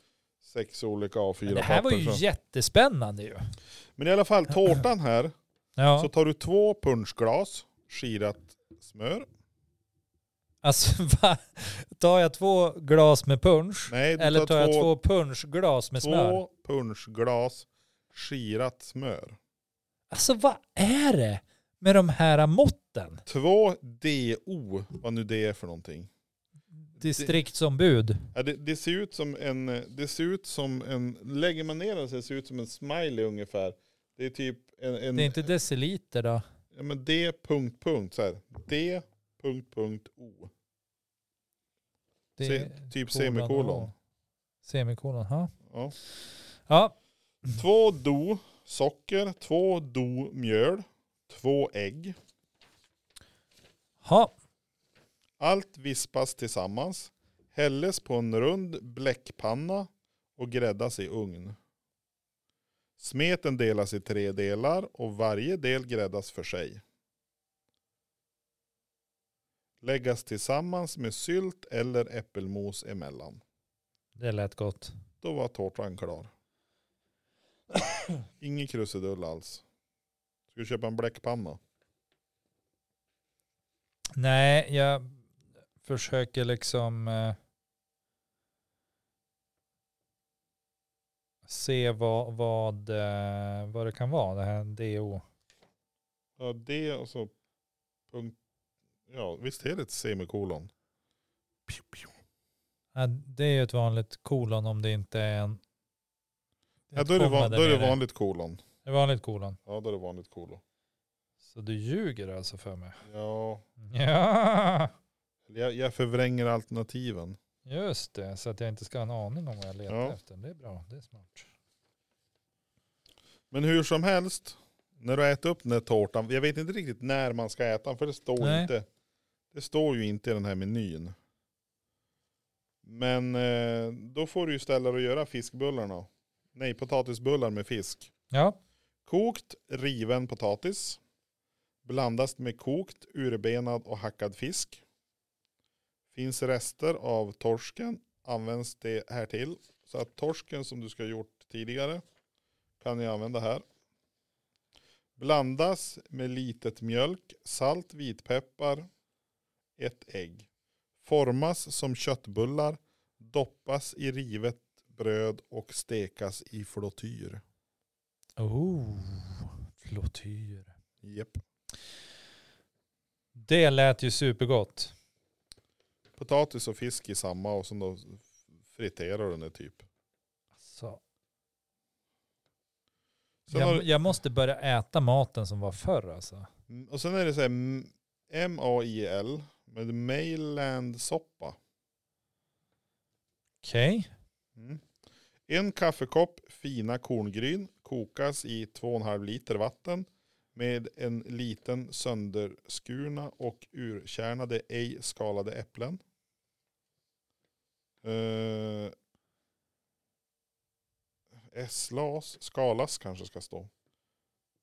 Speaker 1: sex olika
Speaker 2: Men
Speaker 1: A4-papper.
Speaker 2: det här var ju
Speaker 1: så-
Speaker 2: jättespännande ju.
Speaker 1: Men i alla fall, tårtan här.
Speaker 2: Ja,
Speaker 1: Så tar du två punschglas, skirat smör.
Speaker 2: alltså va? Tar jag två glas med punsch?
Speaker 1: Nej, du
Speaker 2: eller tar jag
Speaker 1: två,
Speaker 2: två punschglas med smör?
Speaker 1: två punschglas, skirat smör.
Speaker 2: Alltså vad är det med de här måtten?
Speaker 1: Två DO, vad nu det är för någonting.
Speaker 2: Distriktsombud.
Speaker 1: Ja, det, det ser ut som en, det ser ut som en, lägger man ner den så det ser ut som en smiley ungefär. Det är typ en, en
Speaker 2: Det är inte deciliter då?
Speaker 1: ja, men D punkt punkt så här. D punkt punkt O.
Speaker 2: Det
Speaker 1: Se-
Speaker 2: är
Speaker 1: typ
Speaker 2: kolon
Speaker 1: semikolon.
Speaker 2: och- Semikolon, ja.
Speaker 1: Ja.
Speaker 2: Ja,
Speaker 1: Två do socker, två do mjöl, två ägg.
Speaker 2: ha.
Speaker 1: Allt vispas tillsammans, hälles på en rund bläckpanna och gräddas i ugn. Smeten delas i tre delar och varje del gräddas för sig. Läggas tillsammans med sylt eller äppelmos emellan.
Speaker 2: det lät gott.
Speaker 1: Då var tårtan klar. Ingen krusidull alls. Ska du köpa en bläckpanna?
Speaker 2: Nej, jag försöker liksom eh, se vad, vad, eh, vad det kan vara, det här DO.
Speaker 1: Ja, det och så punkt. Ja, visst är det ett semikolon? Pew, pew.
Speaker 2: Ja, det är ju ett vanligt kolon om det inte är en...
Speaker 1: Ja,
Speaker 2: ett
Speaker 1: då är det,
Speaker 2: komma
Speaker 1: van,
Speaker 2: där
Speaker 1: då är det
Speaker 2: nere.
Speaker 1: vanligt kolon.
Speaker 2: Det är vanligt kolon.
Speaker 1: Ja, då är det vanligt kolon.
Speaker 2: Så du ljuger alltså för mig?
Speaker 1: Ja,
Speaker 2: Ja,
Speaker 1: jag, jag förvränger alternativen.
Speaker 2: just det. Så att jag inte ska ha en aning om vad jag letar
Speaker 1: Ja.
Speaker 2: efter. Det är bra, det är smart.
Speaker 1: Men hur som helst, när du äter upp den här tårtan, jag vet inte riktigt när man ska äta den för det står
Speaker 2: Nej.
Speaker 1: inte. Det står ju inte i den här menyn. Men eh, då får du ju ställa dig och göra fiskbullarna. Nej, potatisbullar med fisk.
Speaker 2: Ja,
Speaker 1: Kokt riven potatis. Blandas med kokt, urbenad och hackad fisk. Finns rester av torsken. Används det här till. Så att torsken som du ska ha gjort tidigare kan ni använda här. Blandas med litet mjölk, salt, vitpeppar, ett ägg. Formas som köttbullar, doppas i rivet bröd och stekas i flottyr.
Speaker 2: oh, flottyr.
Speaker 1: Japp.
Speaker 2: Det lät ju supergott.
Speaker 1: potatis och fisk i samma och sen då friterar den det typ.
Speaker 2: Så.
Speaker 1: Sen har
Speaker 2: Jag,
Speaker 1: du-
Speaker 2: jag måste börja äta maten som var förr alltså.
Speaker 1: Mm, Och sen är det så här m- M-A-I-L med Mailand-soppa.
Speaker 2: Okej.
Speaker 1: Mm. En kaffekopp fina korngryn kokas i 2,5 liter vatten med en liten sönderskurna och urkärnade ej skalade äpplen. Eh, Slas, skalas kanske ska stå.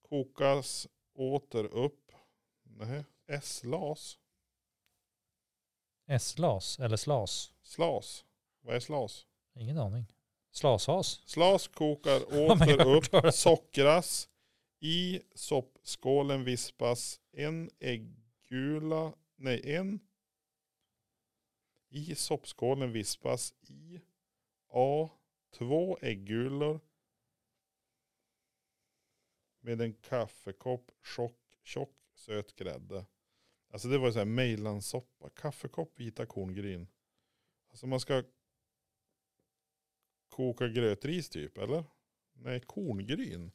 Speaker 1: Kokas åter upp. Nej, slas,
Speaker 2: Slas eller slas.
Speaker 1: slas. Vad är slas?
Speaker 2: Ingen aning. Slashas.
Speaker 1: Slas kokar
Speaker 2: men jag
Speaker 1: åter
Speaker 2: har hört
Speaker 1: upp,
Speaker 2: talas
Speaker 1: sockras. I soppskålen vispas en äggula, nej en. I soppskålen vispas i A två äggulor med en kaffekopp tjock, tjock söt grädde. Alltså det var ju så här mejlansoppa, kaffekopp vita korngryn. Alltså man ska koka grötris typ eller? Nej, korngryn.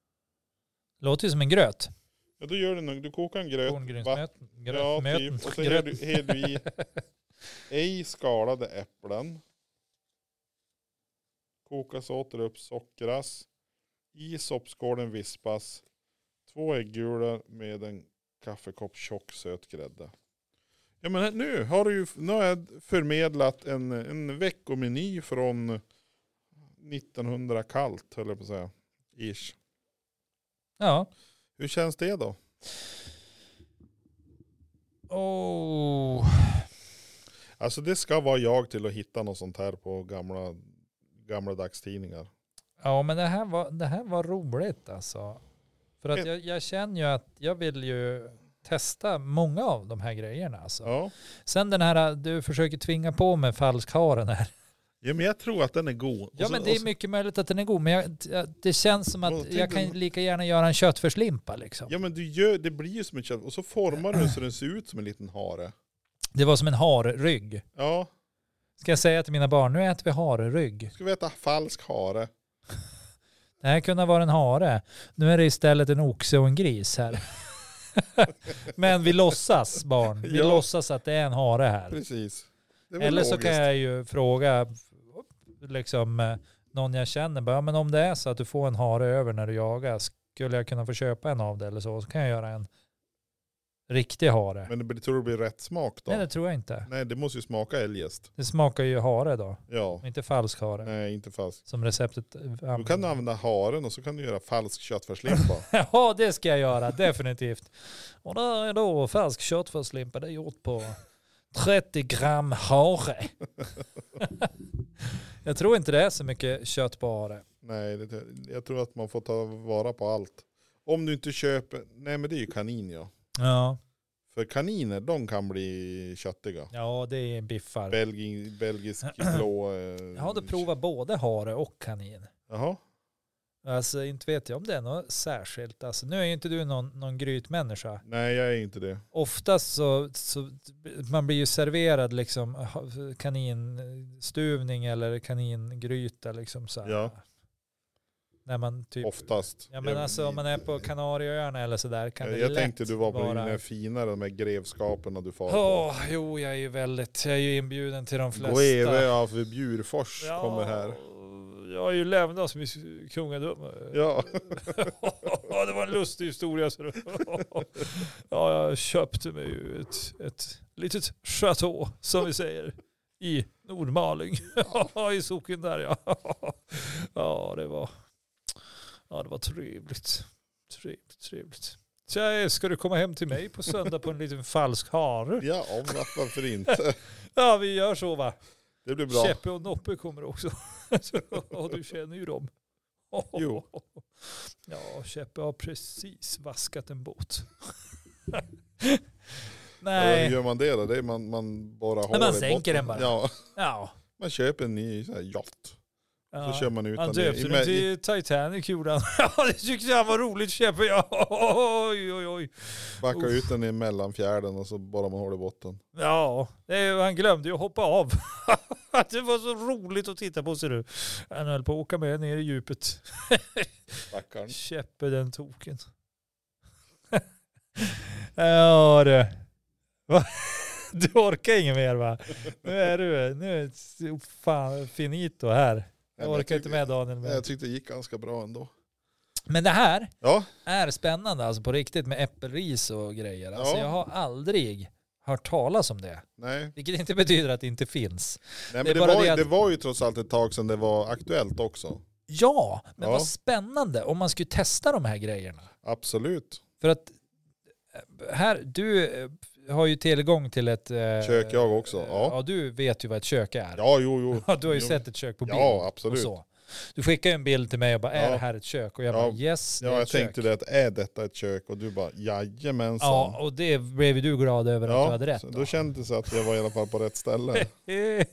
Speaker 2: Låter ju som en gröt.
Speaker 1: Ja, då gör du, nog- du kokar en gröt. vatten-
Speaker 2: Korngrynsmöten.
Speaker 1: ja,
Speaker 2: Grötmöten.
Speaker 1: typ. Och sen häller du, häller du i ej skalade äpplen. Kokas åter upp, sockras. I soppskålen vispas två äggulor med en kaffekopp tjock söt grädde. Ja men här- nu har, du ju, nu har jag förmedlat en, en veckomeny från 1900 kallt höll jag på att säga. Ish.
Speaker 2: Ja.
Speaker 1: Hur känns det då?
Speaker 2: Oh.
Speaker 1: Alltså det ska vara jag till att hitta något sånt här på gamla, gamla dagstidningar.
Speaker 2: Ja, men det här var, det här var roligt alltså. För att
Speaker 1: Ett-
Speaker 2: jag, jag känner ju att jag vill ju testa många av de här grejerna. Alltså.
Speaker 1: Ja.
Speaker 2: Sen den här du försöker tvinga på med falskharen här.
Speaker 1: ja men jag tror att den är god. Och
Speaker 2: Ja,
Speaker 1: så-
Speaker 2: men det
Speaker 1: och
Speaker 2: är
Speaker 1: så-
Speaker 2: mycket möjligt att den är god, men jag, det- det känns som
Speaker 1: Och
Speaker 2: att
Speaker 1: tänk
Speaker 2: jag kan
Speaker 1: om-
Speaker 2: lika gärna göra en köttfärslimpa liksom.
Speaker 1: Ja men du gör, det blir ju som en kött och så formar du den så den ser ut som en liten hare.
Speaker 2: Det var som en harrygg.
Speaker 1: Ja,
Speaker 2: Ska jag säga till mina barn, nu äter vi harrygg.
Speaker 1: ska vi äta falsk hare?
Speaker 2: Det här kunde ha varit en hare. Nu är det istället en oxe och en gris här. Men vi låtsas barn. Vi
Speaker 1: Ja.
Speaker 2: låtsas att det är en hare här.
Speaker 1: Precis. Det var
Speaker 2: Eller så
Speaker 1: logiskt.
Speaker 2: kan jag ju fråga liksom, eh, någon jag känner. Bara, "Ja, men om det är så att du får en hare över när du jagar, skulle jag kunna få köpa en av det eller så? Så kan jag göra en riktig hare.
Speaker 1: Men det blir, tror du det blir rätt smak då?
Speaker 2: Nej, det tror jag inte.
Speaker 1: Nej det måste ju smaka eljest.
Speaker 2: Det smakar ju hare då,
Speaker 1: Ja,
Speaker 2: och inte falsk hare.
Speaker 1: nej inte falsk.
Speaker 2: Som receptet eh,
Speaker 1: Då kan du
Speaker 2: använder.
Speaker 1: använda haren och så kan du göra falsk köttfärslimpa.
Speaker 2: Ja, det ska jag göra, definitivt. Och där är då färsk köttfärslimpa, det är gjort på 30 gram hare. jag tror inte det är så mycket kött på hare.
Speaker 1: nej, det, jag tror att man får ta vara på allt. Om du inte köper, nej men det är ju kanin ja.
Speaker 2: Ja,
Speaker 1: För kaniner, de kan bli köttiga.
Speaker 2: ja det är biffar.
Speaker 1: Belgi, belgisk blå. Eh,
Speaker 2: Jag hade provat både hare och kanin.
Speaker 1: Jaha.
Speaker 2: Alltså inte vet jag om det är något särskilt. Alltså, nu är ju inte du någon, någon grytmänniska.
Speaker 1: Nej, jag är inte det.
Speaker 2: oftast så, så man blir ju serverad liksom ha- kaninstuvning eller kaningryta liksom så här.
Speaker 1: Ja.
Speaker 2: När man typ,
Speaker 1: Oftast.
Speaker 2: Ja men
Speaker 1: Jag-
Speaker 2: alltså om man är på Kanarieöarna eller sådär kan
Speaker 1: jag,
Speaker 2: det
Speaker 1: jag
Speaker 2: lätt
Speaker 1: tänkte du var på
Speaker 2: vara...
Speaker 1: dina finare med grevskaperna du far på.
Speaker 2: Åh, jo, jag är ju väldigt, jag är ju inbjuden till de flesta.
Speaker 1: Greve av Bjurfors kommer här.
Speaker 2: Jag har ju lämnat som kungadöme.
Speaker 1: Ja.
Speaker 2: det var en lustig historia. Så det... ja, jag köpte mig ju ett, ett litet chateau, som vi säger, i Nordmaling. I socken där ja. ja, det var, ja, det var trevligt. Trevligt, trevligt. Tja, ska du komma hem till mig på söndag på en liten falsk hare?
Speaker 1: ja, om att varför inte.
Speaker 2: Ja, vi gör så va?
Speaker 1: Det blir bra.
Speaker 2: Käppe och Noppe kommer också. Så, ja, du känner ju dem.
Speaker 1: Jo.
Speaker 2: Ja, Käppe har precis vaskat en båt. Nej,
Speaker 1: Hur gör man det då? Det är man, man bara har
Speaker 2: man
Speaker 1: i
Speaker 2: sänker
Speaker 1: botten.
Speaker 2: den bara.
Speaker 1: Ja,
Speaker 2: ja.
Speaker 1: man köper en ny sån här yacht.
Speaker 2: ja.
Speaker 1: Så kör man ut
Speaker 2: Han
Speaker 1: den i-
Speaker 2: döpte
Speaker 1: i-
Speaker 2: den
Speaker 1: i-
Speaker 2: till Titanic gjorde han. Ja, det tyckte han var roligt Käppe. Ja, oj, oj, oj.
Speaker 1: Backa
Speaker 2: Uff.
Speaker 1: ut den i mellanfjärden och så bara man håller i botten.
Speaker 2: Ja, det, är ju- han glömde ju att hoppa av. det var så roligt att titta på ser du. Han höll på att åka med ner i djupet.
Speaker 1: Stackarn.
Speaker 2: Käppe den token. ja du. Va? Du orkar inget mer va? Nu är du, nu är det fan finito här.
Speaker 1: Nej,
Speaker 2: Jag
Speaker 1: men
Speaker 2: orkar inte
Speaker 1: tyckte-
Speaker 2: med Daniel.
Speaker 1: Nej,
Speaker 2: Men,
Speaker 1: Jag tyckte det gick ganska bra ändå.
Speaker 2: men det här
Speaker 1: Ja,
Speaker 2: är spännande alltså på riktigt med äppelris och grejer. Alltså
Speaker 1: Ja.
Speaker 2: jag har aldrig hört talas om det.
Speaker 1: nej.
Speaker 2: Vilket inte betyder att det inte finns.
Speaker 1: nej men
Speaker 2: Det
Speaker 1: det,
Speaker 2: är bara
Speaker 1: var, ju-
Speaker 2: det att-
Speaker 1: det var ju trots allt ett tag sedan det var aktuellt också.
Speaker 2: Ja, men
Speaker 1: Ja.
Speaker 2: vad spännande om man skulle testa de här grejerna.
Speaker 1: Absolut.
Speaker 2: För att eh, här, du eh, har ju tillgång till ett... eh,
Speaker 1: Kök jag också. Ja,
Speaker 2: Ja, du vet ju vad ett kök är.
Speaker 1: ja jo, jo.
Speaker 2: Ja, du har ju
Speaker 1: Jo.
Speaker 2: sett ett kök på bild.
Speaker 1: Ja,
Speaker 2: och
Speaker 1: absolut.
Speaker 2: så. Du skickar ju en bild till mig och bara, är
Speaker 1: Ja.
Speaker 2: det här ett kök? Och jag
Speaker 1: Ja.
Speaker 2: bara, yes, det
Speaker 1: Ja,
Speaker 2: är
Speaker 1: jag
Speaker 2: ett kök.
Speaker 1: tänkte det att är detta ett kök? Och du bara jajamensan.
Speaker 2: Ja, och det blev ju du glad över att du hade rätt.
Speaker 1: så
Speaker 2: då.
Speaker 1: då kändes det att jag var i alla fall på rätt ställe.
Speaker 2: Eh,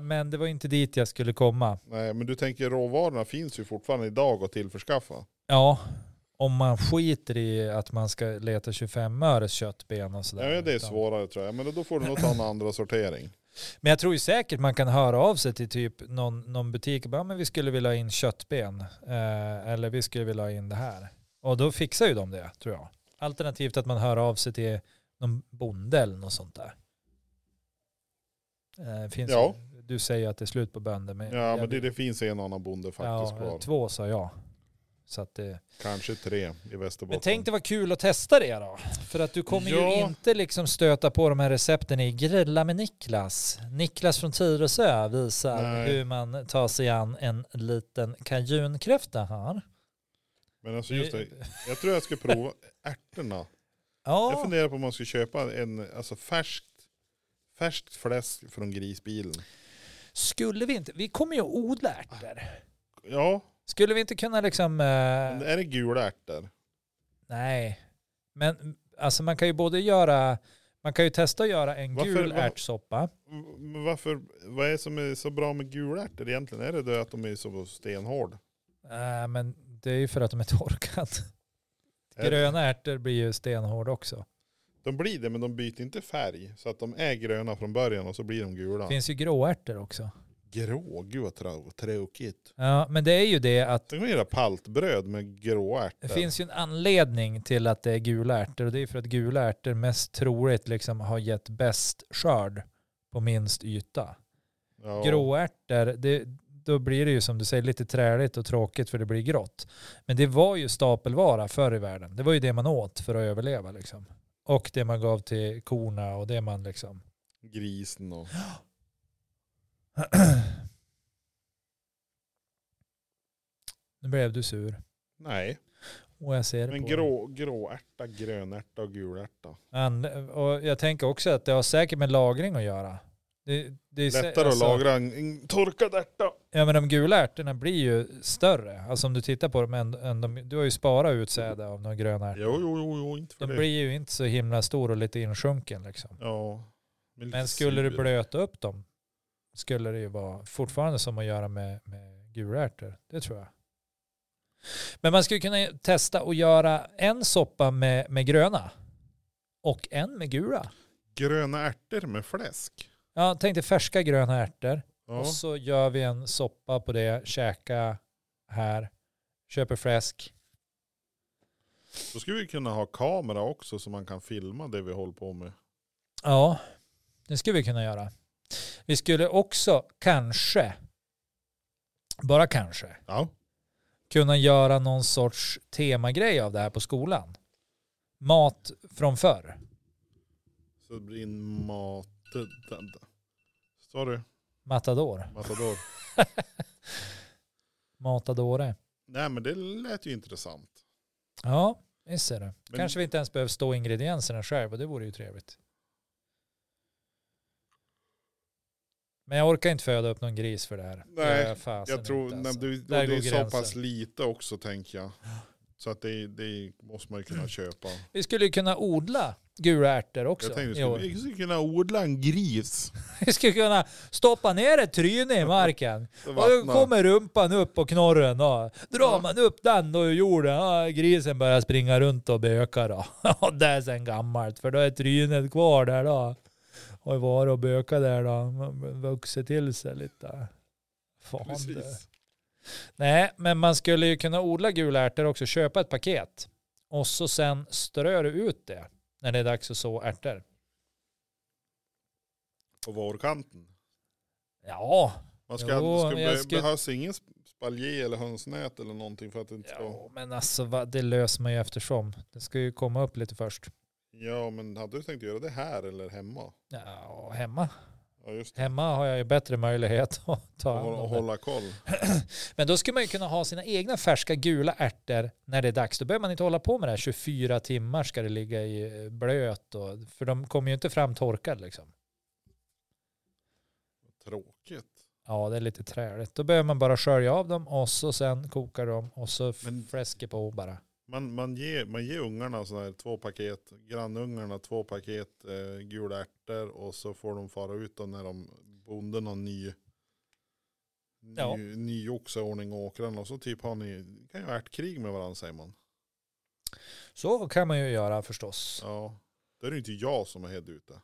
Speaker 2: Men det var inte dit jag skulle komma.
Speaker 1: Nej, men du tänker råvarorna finns ju fortfarande idag att tillförskaffa.
Speaker 2: Ja, om man skiter i att man ska leta 25 öres köttben och sådär.
Speaker 1: Nej, det är
Speaker 2: Utan-
Speaker 1: svårare tror jag. Men då får du nog ta en andra sortering.
Speaker 2: Men jag tror ju säkert man kan höra av sig till typ någon, någon butik och bara, "Ja, men vi skulle vilja ha in köttben eh, eller vi skulle vilja ha in det här. Och då fixar ju de det tror jag. Alternativt att man hör av sig till någon bonde eller något sånt där. Eh, finns
Speaker 1: Ja.
Speaker 2: ju, du säger att det är slut på bönder. Men
Speaker 1: Ja, men det, det finns en annan bonde faktiskt
Speaker 2: ja,
Speaker 1: kvar.
Speaker 2: Två sa jag. Så att det,
Speaker 1: Kanske tre i Västerbotten.
Speaker 2: men tänk det var kul att testa det då. För att du kommer ju
Speaker 1: Ja.
Speaker 2: inte liksom stöta på de här recepten i Grilla med Niklas. Niklas från Tyresö visar
Speaker 1: Nej.
Speaker 2: hur man tar sig an en liten kajunkräfta här.
Speaker 1: Men alltså just det, jag tror jag ska prova ärtorna. Jag
Speaker 2: Ja,
Speaker 1: funderar på om man ska köpa en, alltså färskt, färskt fläsk från grisbilen.
Speaker 2: skulle vi inte, vi kommer ju att odla ärtor.
Speaker 1: Ja,
Speaker 2: Skulle vi inte kunna liksom, eh,
Speaker 1: men är det gula ärtor?
Speaker 2: nej, men alltså man kan ju både göra, man kan ju testa att göra en
Speaker 1: Varför-
Speaker 2: gul
Speaker 1: var-
Speaker 2: ärtsoppa.
Speaker 1: Men varför, vad är det som är så bra med gula ärtor egentligen? Är det det att de är så stenhårda?
Speaker 2: Nej, Eh, men det är ju för att de är torkade.
Speaker 1: Är det-
Speaker 2: Gröna ärtor blir ju stenhårda också.
Speaker 1: De blir det men de byter inte färg. Så att de är gröna från början och så blir de gula.
Speaker 2: finns ju gråärtor också.
Speaker 1: Grå, gud vad trå- tråkigt.
Speaker 2: Ja, men det är ju det att
Speaker 1: Tänk om vi göra paltbröd med gråa
Speaker 2: det
Speaker 1: ärtor.
Speaker 2: finns ju en anledning till att det är gula ärtor och det är för att gula ärtor mest troligt liksom har gett bäst skörd på minst yta.
Speaker 1: ja.
Speaker 2: Gråärtor, det, då blir det ju som du säger lite träligt och tråkigt för det blir grått. Men det var ju stapelvara förr i världen. Det var ju det man åt för att överleva liksom. Och det man gav till korna och det man liksom.
Speaker 1: Grisen och...
Speaker 2: Nu blev du sur.
Speaker 1: Nej,
Speaker 2: Och jag ser det
Speaker 1: men
Speaker 2: på dig.
Speaker 1: grå, gråärta, grönärta och gulärta.
Speaker 2: Anle- och jag tänker också att det har säkert med lagring att göra. Det, det är sä-
Speaker 1: Lättare
Speaker 2: alltså,
Speaker 1: att lagra en, en torkad ärta.
Speaker 2: Ja men de gula ärtorna blir ju större. Alltså om du tittar på dem, än, än de, du har ju sparat utsäde av de gröna ärtorna.
Speaker 1: Jo, jo, jo, jo inte för
Speaker 2: De
Speaker 1: det.
Speaker 2: blir ju inte så himla stor och lite insjunken liksom.
Speaker 1: Ja. lite
Speaker 2: Men skulle du
Speaker 1: sur.
Speaker 2: blöta upp dem skulle det ju vara fortfarande som att göra med, med gula ärtor. Det tror jag. Men man skulle kunna testa att göra en soppa med, med gröna och en med gula.
Speaker 1: Gröna ärtor med fläsk.
Speaker 2: Ja, tänk dig färska gröna ärtor.
Speaker 1: Ja.
Speaker 2: Och så gör vi en soppa på det, käka här, köper fläsk.
Speaker 1: Då skulle vi kunna ha kamera också så man kan filma det vi håller på med.
Speaker 2: Ja, det skulle vi kunna göra. Vi skulle också kanske, bara kanske,
Speaker 1: Ja,
Speaker 2: kunna göra någon sorts temagrej av det här på skolan. Mat från förr.
Speaker 1: så det blir in mat... Sa du?
Speaker 2: Matador.
Speaker 1: Matador.
Speaker 2: Matadore.
Speaker 1: Nej men det lät ju intressant.
Speaker 2: Ja, visst ser du.
Speaker 1: Men-
Speaker 2: Kanske vi inte ens behöver stå ingredienserna själv och det vore ju trevligt. Men jag orkar inte föda upp någon gris för det här. Det
Speaker 1: Nej,
Speaker 2: gör fasen
Speaker 1: Jag tror,
Speaker 2: inte,
Speaker 1: nej,
Speaker 2: alltså.
Speaker 1: det, och det
Speaker 2: Där går
Speaker 1: är så pass
Speaker 2: gränsen.
Speaker 1: lite också tänker jag. Så att det, det måste man ju kunna köpa.
Speaker 2: Vi skulle ju kunna odla gula ärtor också.
Speaker 1: Jag tänkte
Speaker 2: i
Speaker 1: skulle,
Speaker 2: år.
Speaker 1: vi skulle kunna odla en gris.
Speaker 2: Vi skulle kunna stoppa ner ett tryne i marken.
Speaker 1: Så
Speaker 2: Och då
Speaker 1: vattna.
Speaker 2: kommer rumpan upp och knorren då. Drar
Speaker 1: Ja.
Speaker 2: man upp den då ur jorden, ja, grisen börjar springa runt och böka då. Ja, det är sen gammalt, för då är trynet kvar där då. Har ju varit och böka där då, Man vuxit till sig lite. Fan du.
Speaker 1: Precis.
Speaker 2: Nej, men man skulle ju kunna odla gula ärtor också, köpa ett paket. Och så sen strör du ut det när det är dags att så ärtor.
Speaker 1: På vårkanten.
Speaker 2: Ja,
Speaker 1: Man ska,
Speaker 2: Jo,
Speaker 1: det ska,
Speaker 2: men jag
Speaker 1: be,
Speaker 2: skulle-
Speaker 1: behövs ingen sp- spaljé eller hönsnät eller någonting för att det inte ska...
Speaker 2: ja men alltså va, det löser man ju eftersom. Det ska ju komma upp lite först.
Speaker 1: Ja men hade du tänkt göra det här eller hemma?
Speaker 2: Ja, hemma.
Speaker 1: Ja just det.
Speaker 2: Hemma har jag ju bättre möjlighet att ta hand
Speaker 1: Och, och
Speaker 2: om det.
Speaker 1: hålla koll.
Speaker 2: Men då skulle man ju kunna ha sina egna färska gula ärtor när det är dags. Då behöver man inte hålla på med det här 24 timmar ska det ligga i eh, blöt. Och, för de kommer ju inte fram torkade liksom.
Speaker 1: Tråkigt.
Speaker 2: Ja, det är lite träligt. Då behöver man bara skölja av dem och så sen kokar de och så f-
Speaker 1: Men-
Speaker 2: fläsker på bara.
Speaker 1: Man, man, ger, man ger ungarna sådana här två paket, grannungarna två paket eh, gula ärtor och så får de fara ut då när de, bonden har ny, ny,
Speaker 2: Ja.
Speaker 1: ny oxe i ordning och åkrarna och så typ har ni, kan ju ha ärtkrig med varandra säger man.
Speaker 2: Så kan man ju göra förstås.
Speaker 1: Ja, då är det ju inte jag som är helt ute.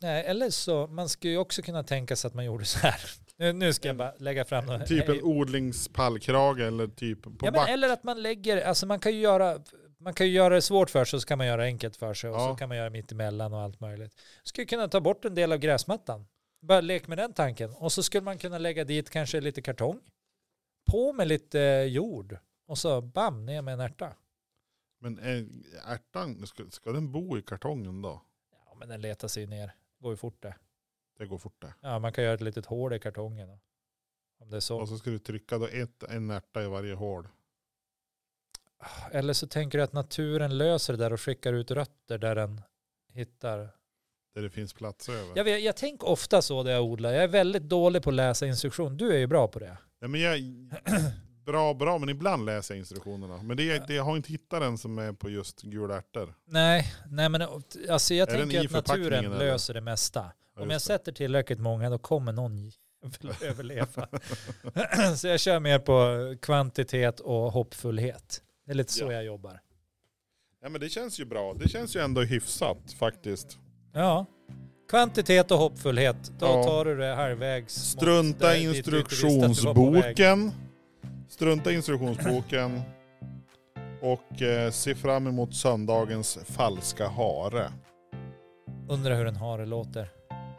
Speaker 2: Nej, eller så, man skulle ju också kunna tänka sig att man gjorde så här. Nu, nu ska jag bara lägga fram några-
Speaker 1: Typ
Speaker 2: Nej.
Speaker 1: en odlingspallkrage eller typ på
Speaker 2: Ja, men
Speaker 1: back.
Speaker 2: eller att man lägger, alltså man kan ju göra man kan ju göra det svårt för sig och så kan man göra enkelt för sig och
Speaker 1: Ja.
Speaker 2: så kan man göra mitt emellan och allt möjligt. Skulle kunna ta bort en del av gräsmattan. Bara lek med den tanken. Och så skulle man kunna lägga dit kanske lite kartong. På med lite eh, jord. Och så bam, ner med en ärta.
Speaker 1: Men eh, ärtan, ska, ska den bo i kartongen då?
Speaker 2: Ja, men den letar sig ner. Går ju fort det.
Speaker 1: Det går fort det.
Speaker 2: Ja, man kan göra ett litet hål i kartongen. Om det är så.
Speaker 1: Och så ska du trycka då ett, en ärta i varje hål.
Speaker 2: Eller så tänker du att naturen löser det där och skickar ut rötter där den hittar
Speaker 1: Där det finns plats över.
Speaker 2: Jag, vet, jag tänker ofta så när jag odlar. Jag är väldigt dålig på att läsa instruktion. Du är ju bra på det.
Speaker 1: Nej, men jag, bra, bra, men ibland läser jag instruktionerna. Men det, det, jag har inte hittat den som är på just gula ärtor.
Speaker 2: Nej, nej men alltså jag
Speaker 1: Är den
Speaker 2: tänker
Speaker 1: i
Speaker 2: att naturen
Speaker 1: förpackningen, eller?
Speaker 2: löser det mesta.
Speaker 1: Ja,
Speaker 2: Om jag
Speaker 1: just det.
Speaker 2: sätter tillräckligt många då kommer någon jävel överleva. så jag kör mer på kvantitet och hoppfullhet. Det är lite så
Speaker 1: Ja.
Speaker 2: jag jobbar.
Speaker 1: Ja, men det känns ju bra. Det känns ju ändå hyfsat faktiskt.
Speaker 2: Ja. Kvantitet och hoppfullhet. Då
Speaker 1: Ja.
Speaker 2: tar du det halvvägs. mot
Speaker 1: Strunta
Speaker 2: där-
Speaker 1: i
Speaker 2: dit du inte visste att du var på väg.
Speaker 1: instruktionsboken. Strunta i instruktionsboken. Och eh, se fram emot söndagens falska hare.
Speaker 2: Undrar hur en hare låter.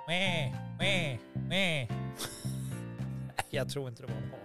Speaker 2: Mä, mä, mä. Jag tror inte det var en hare.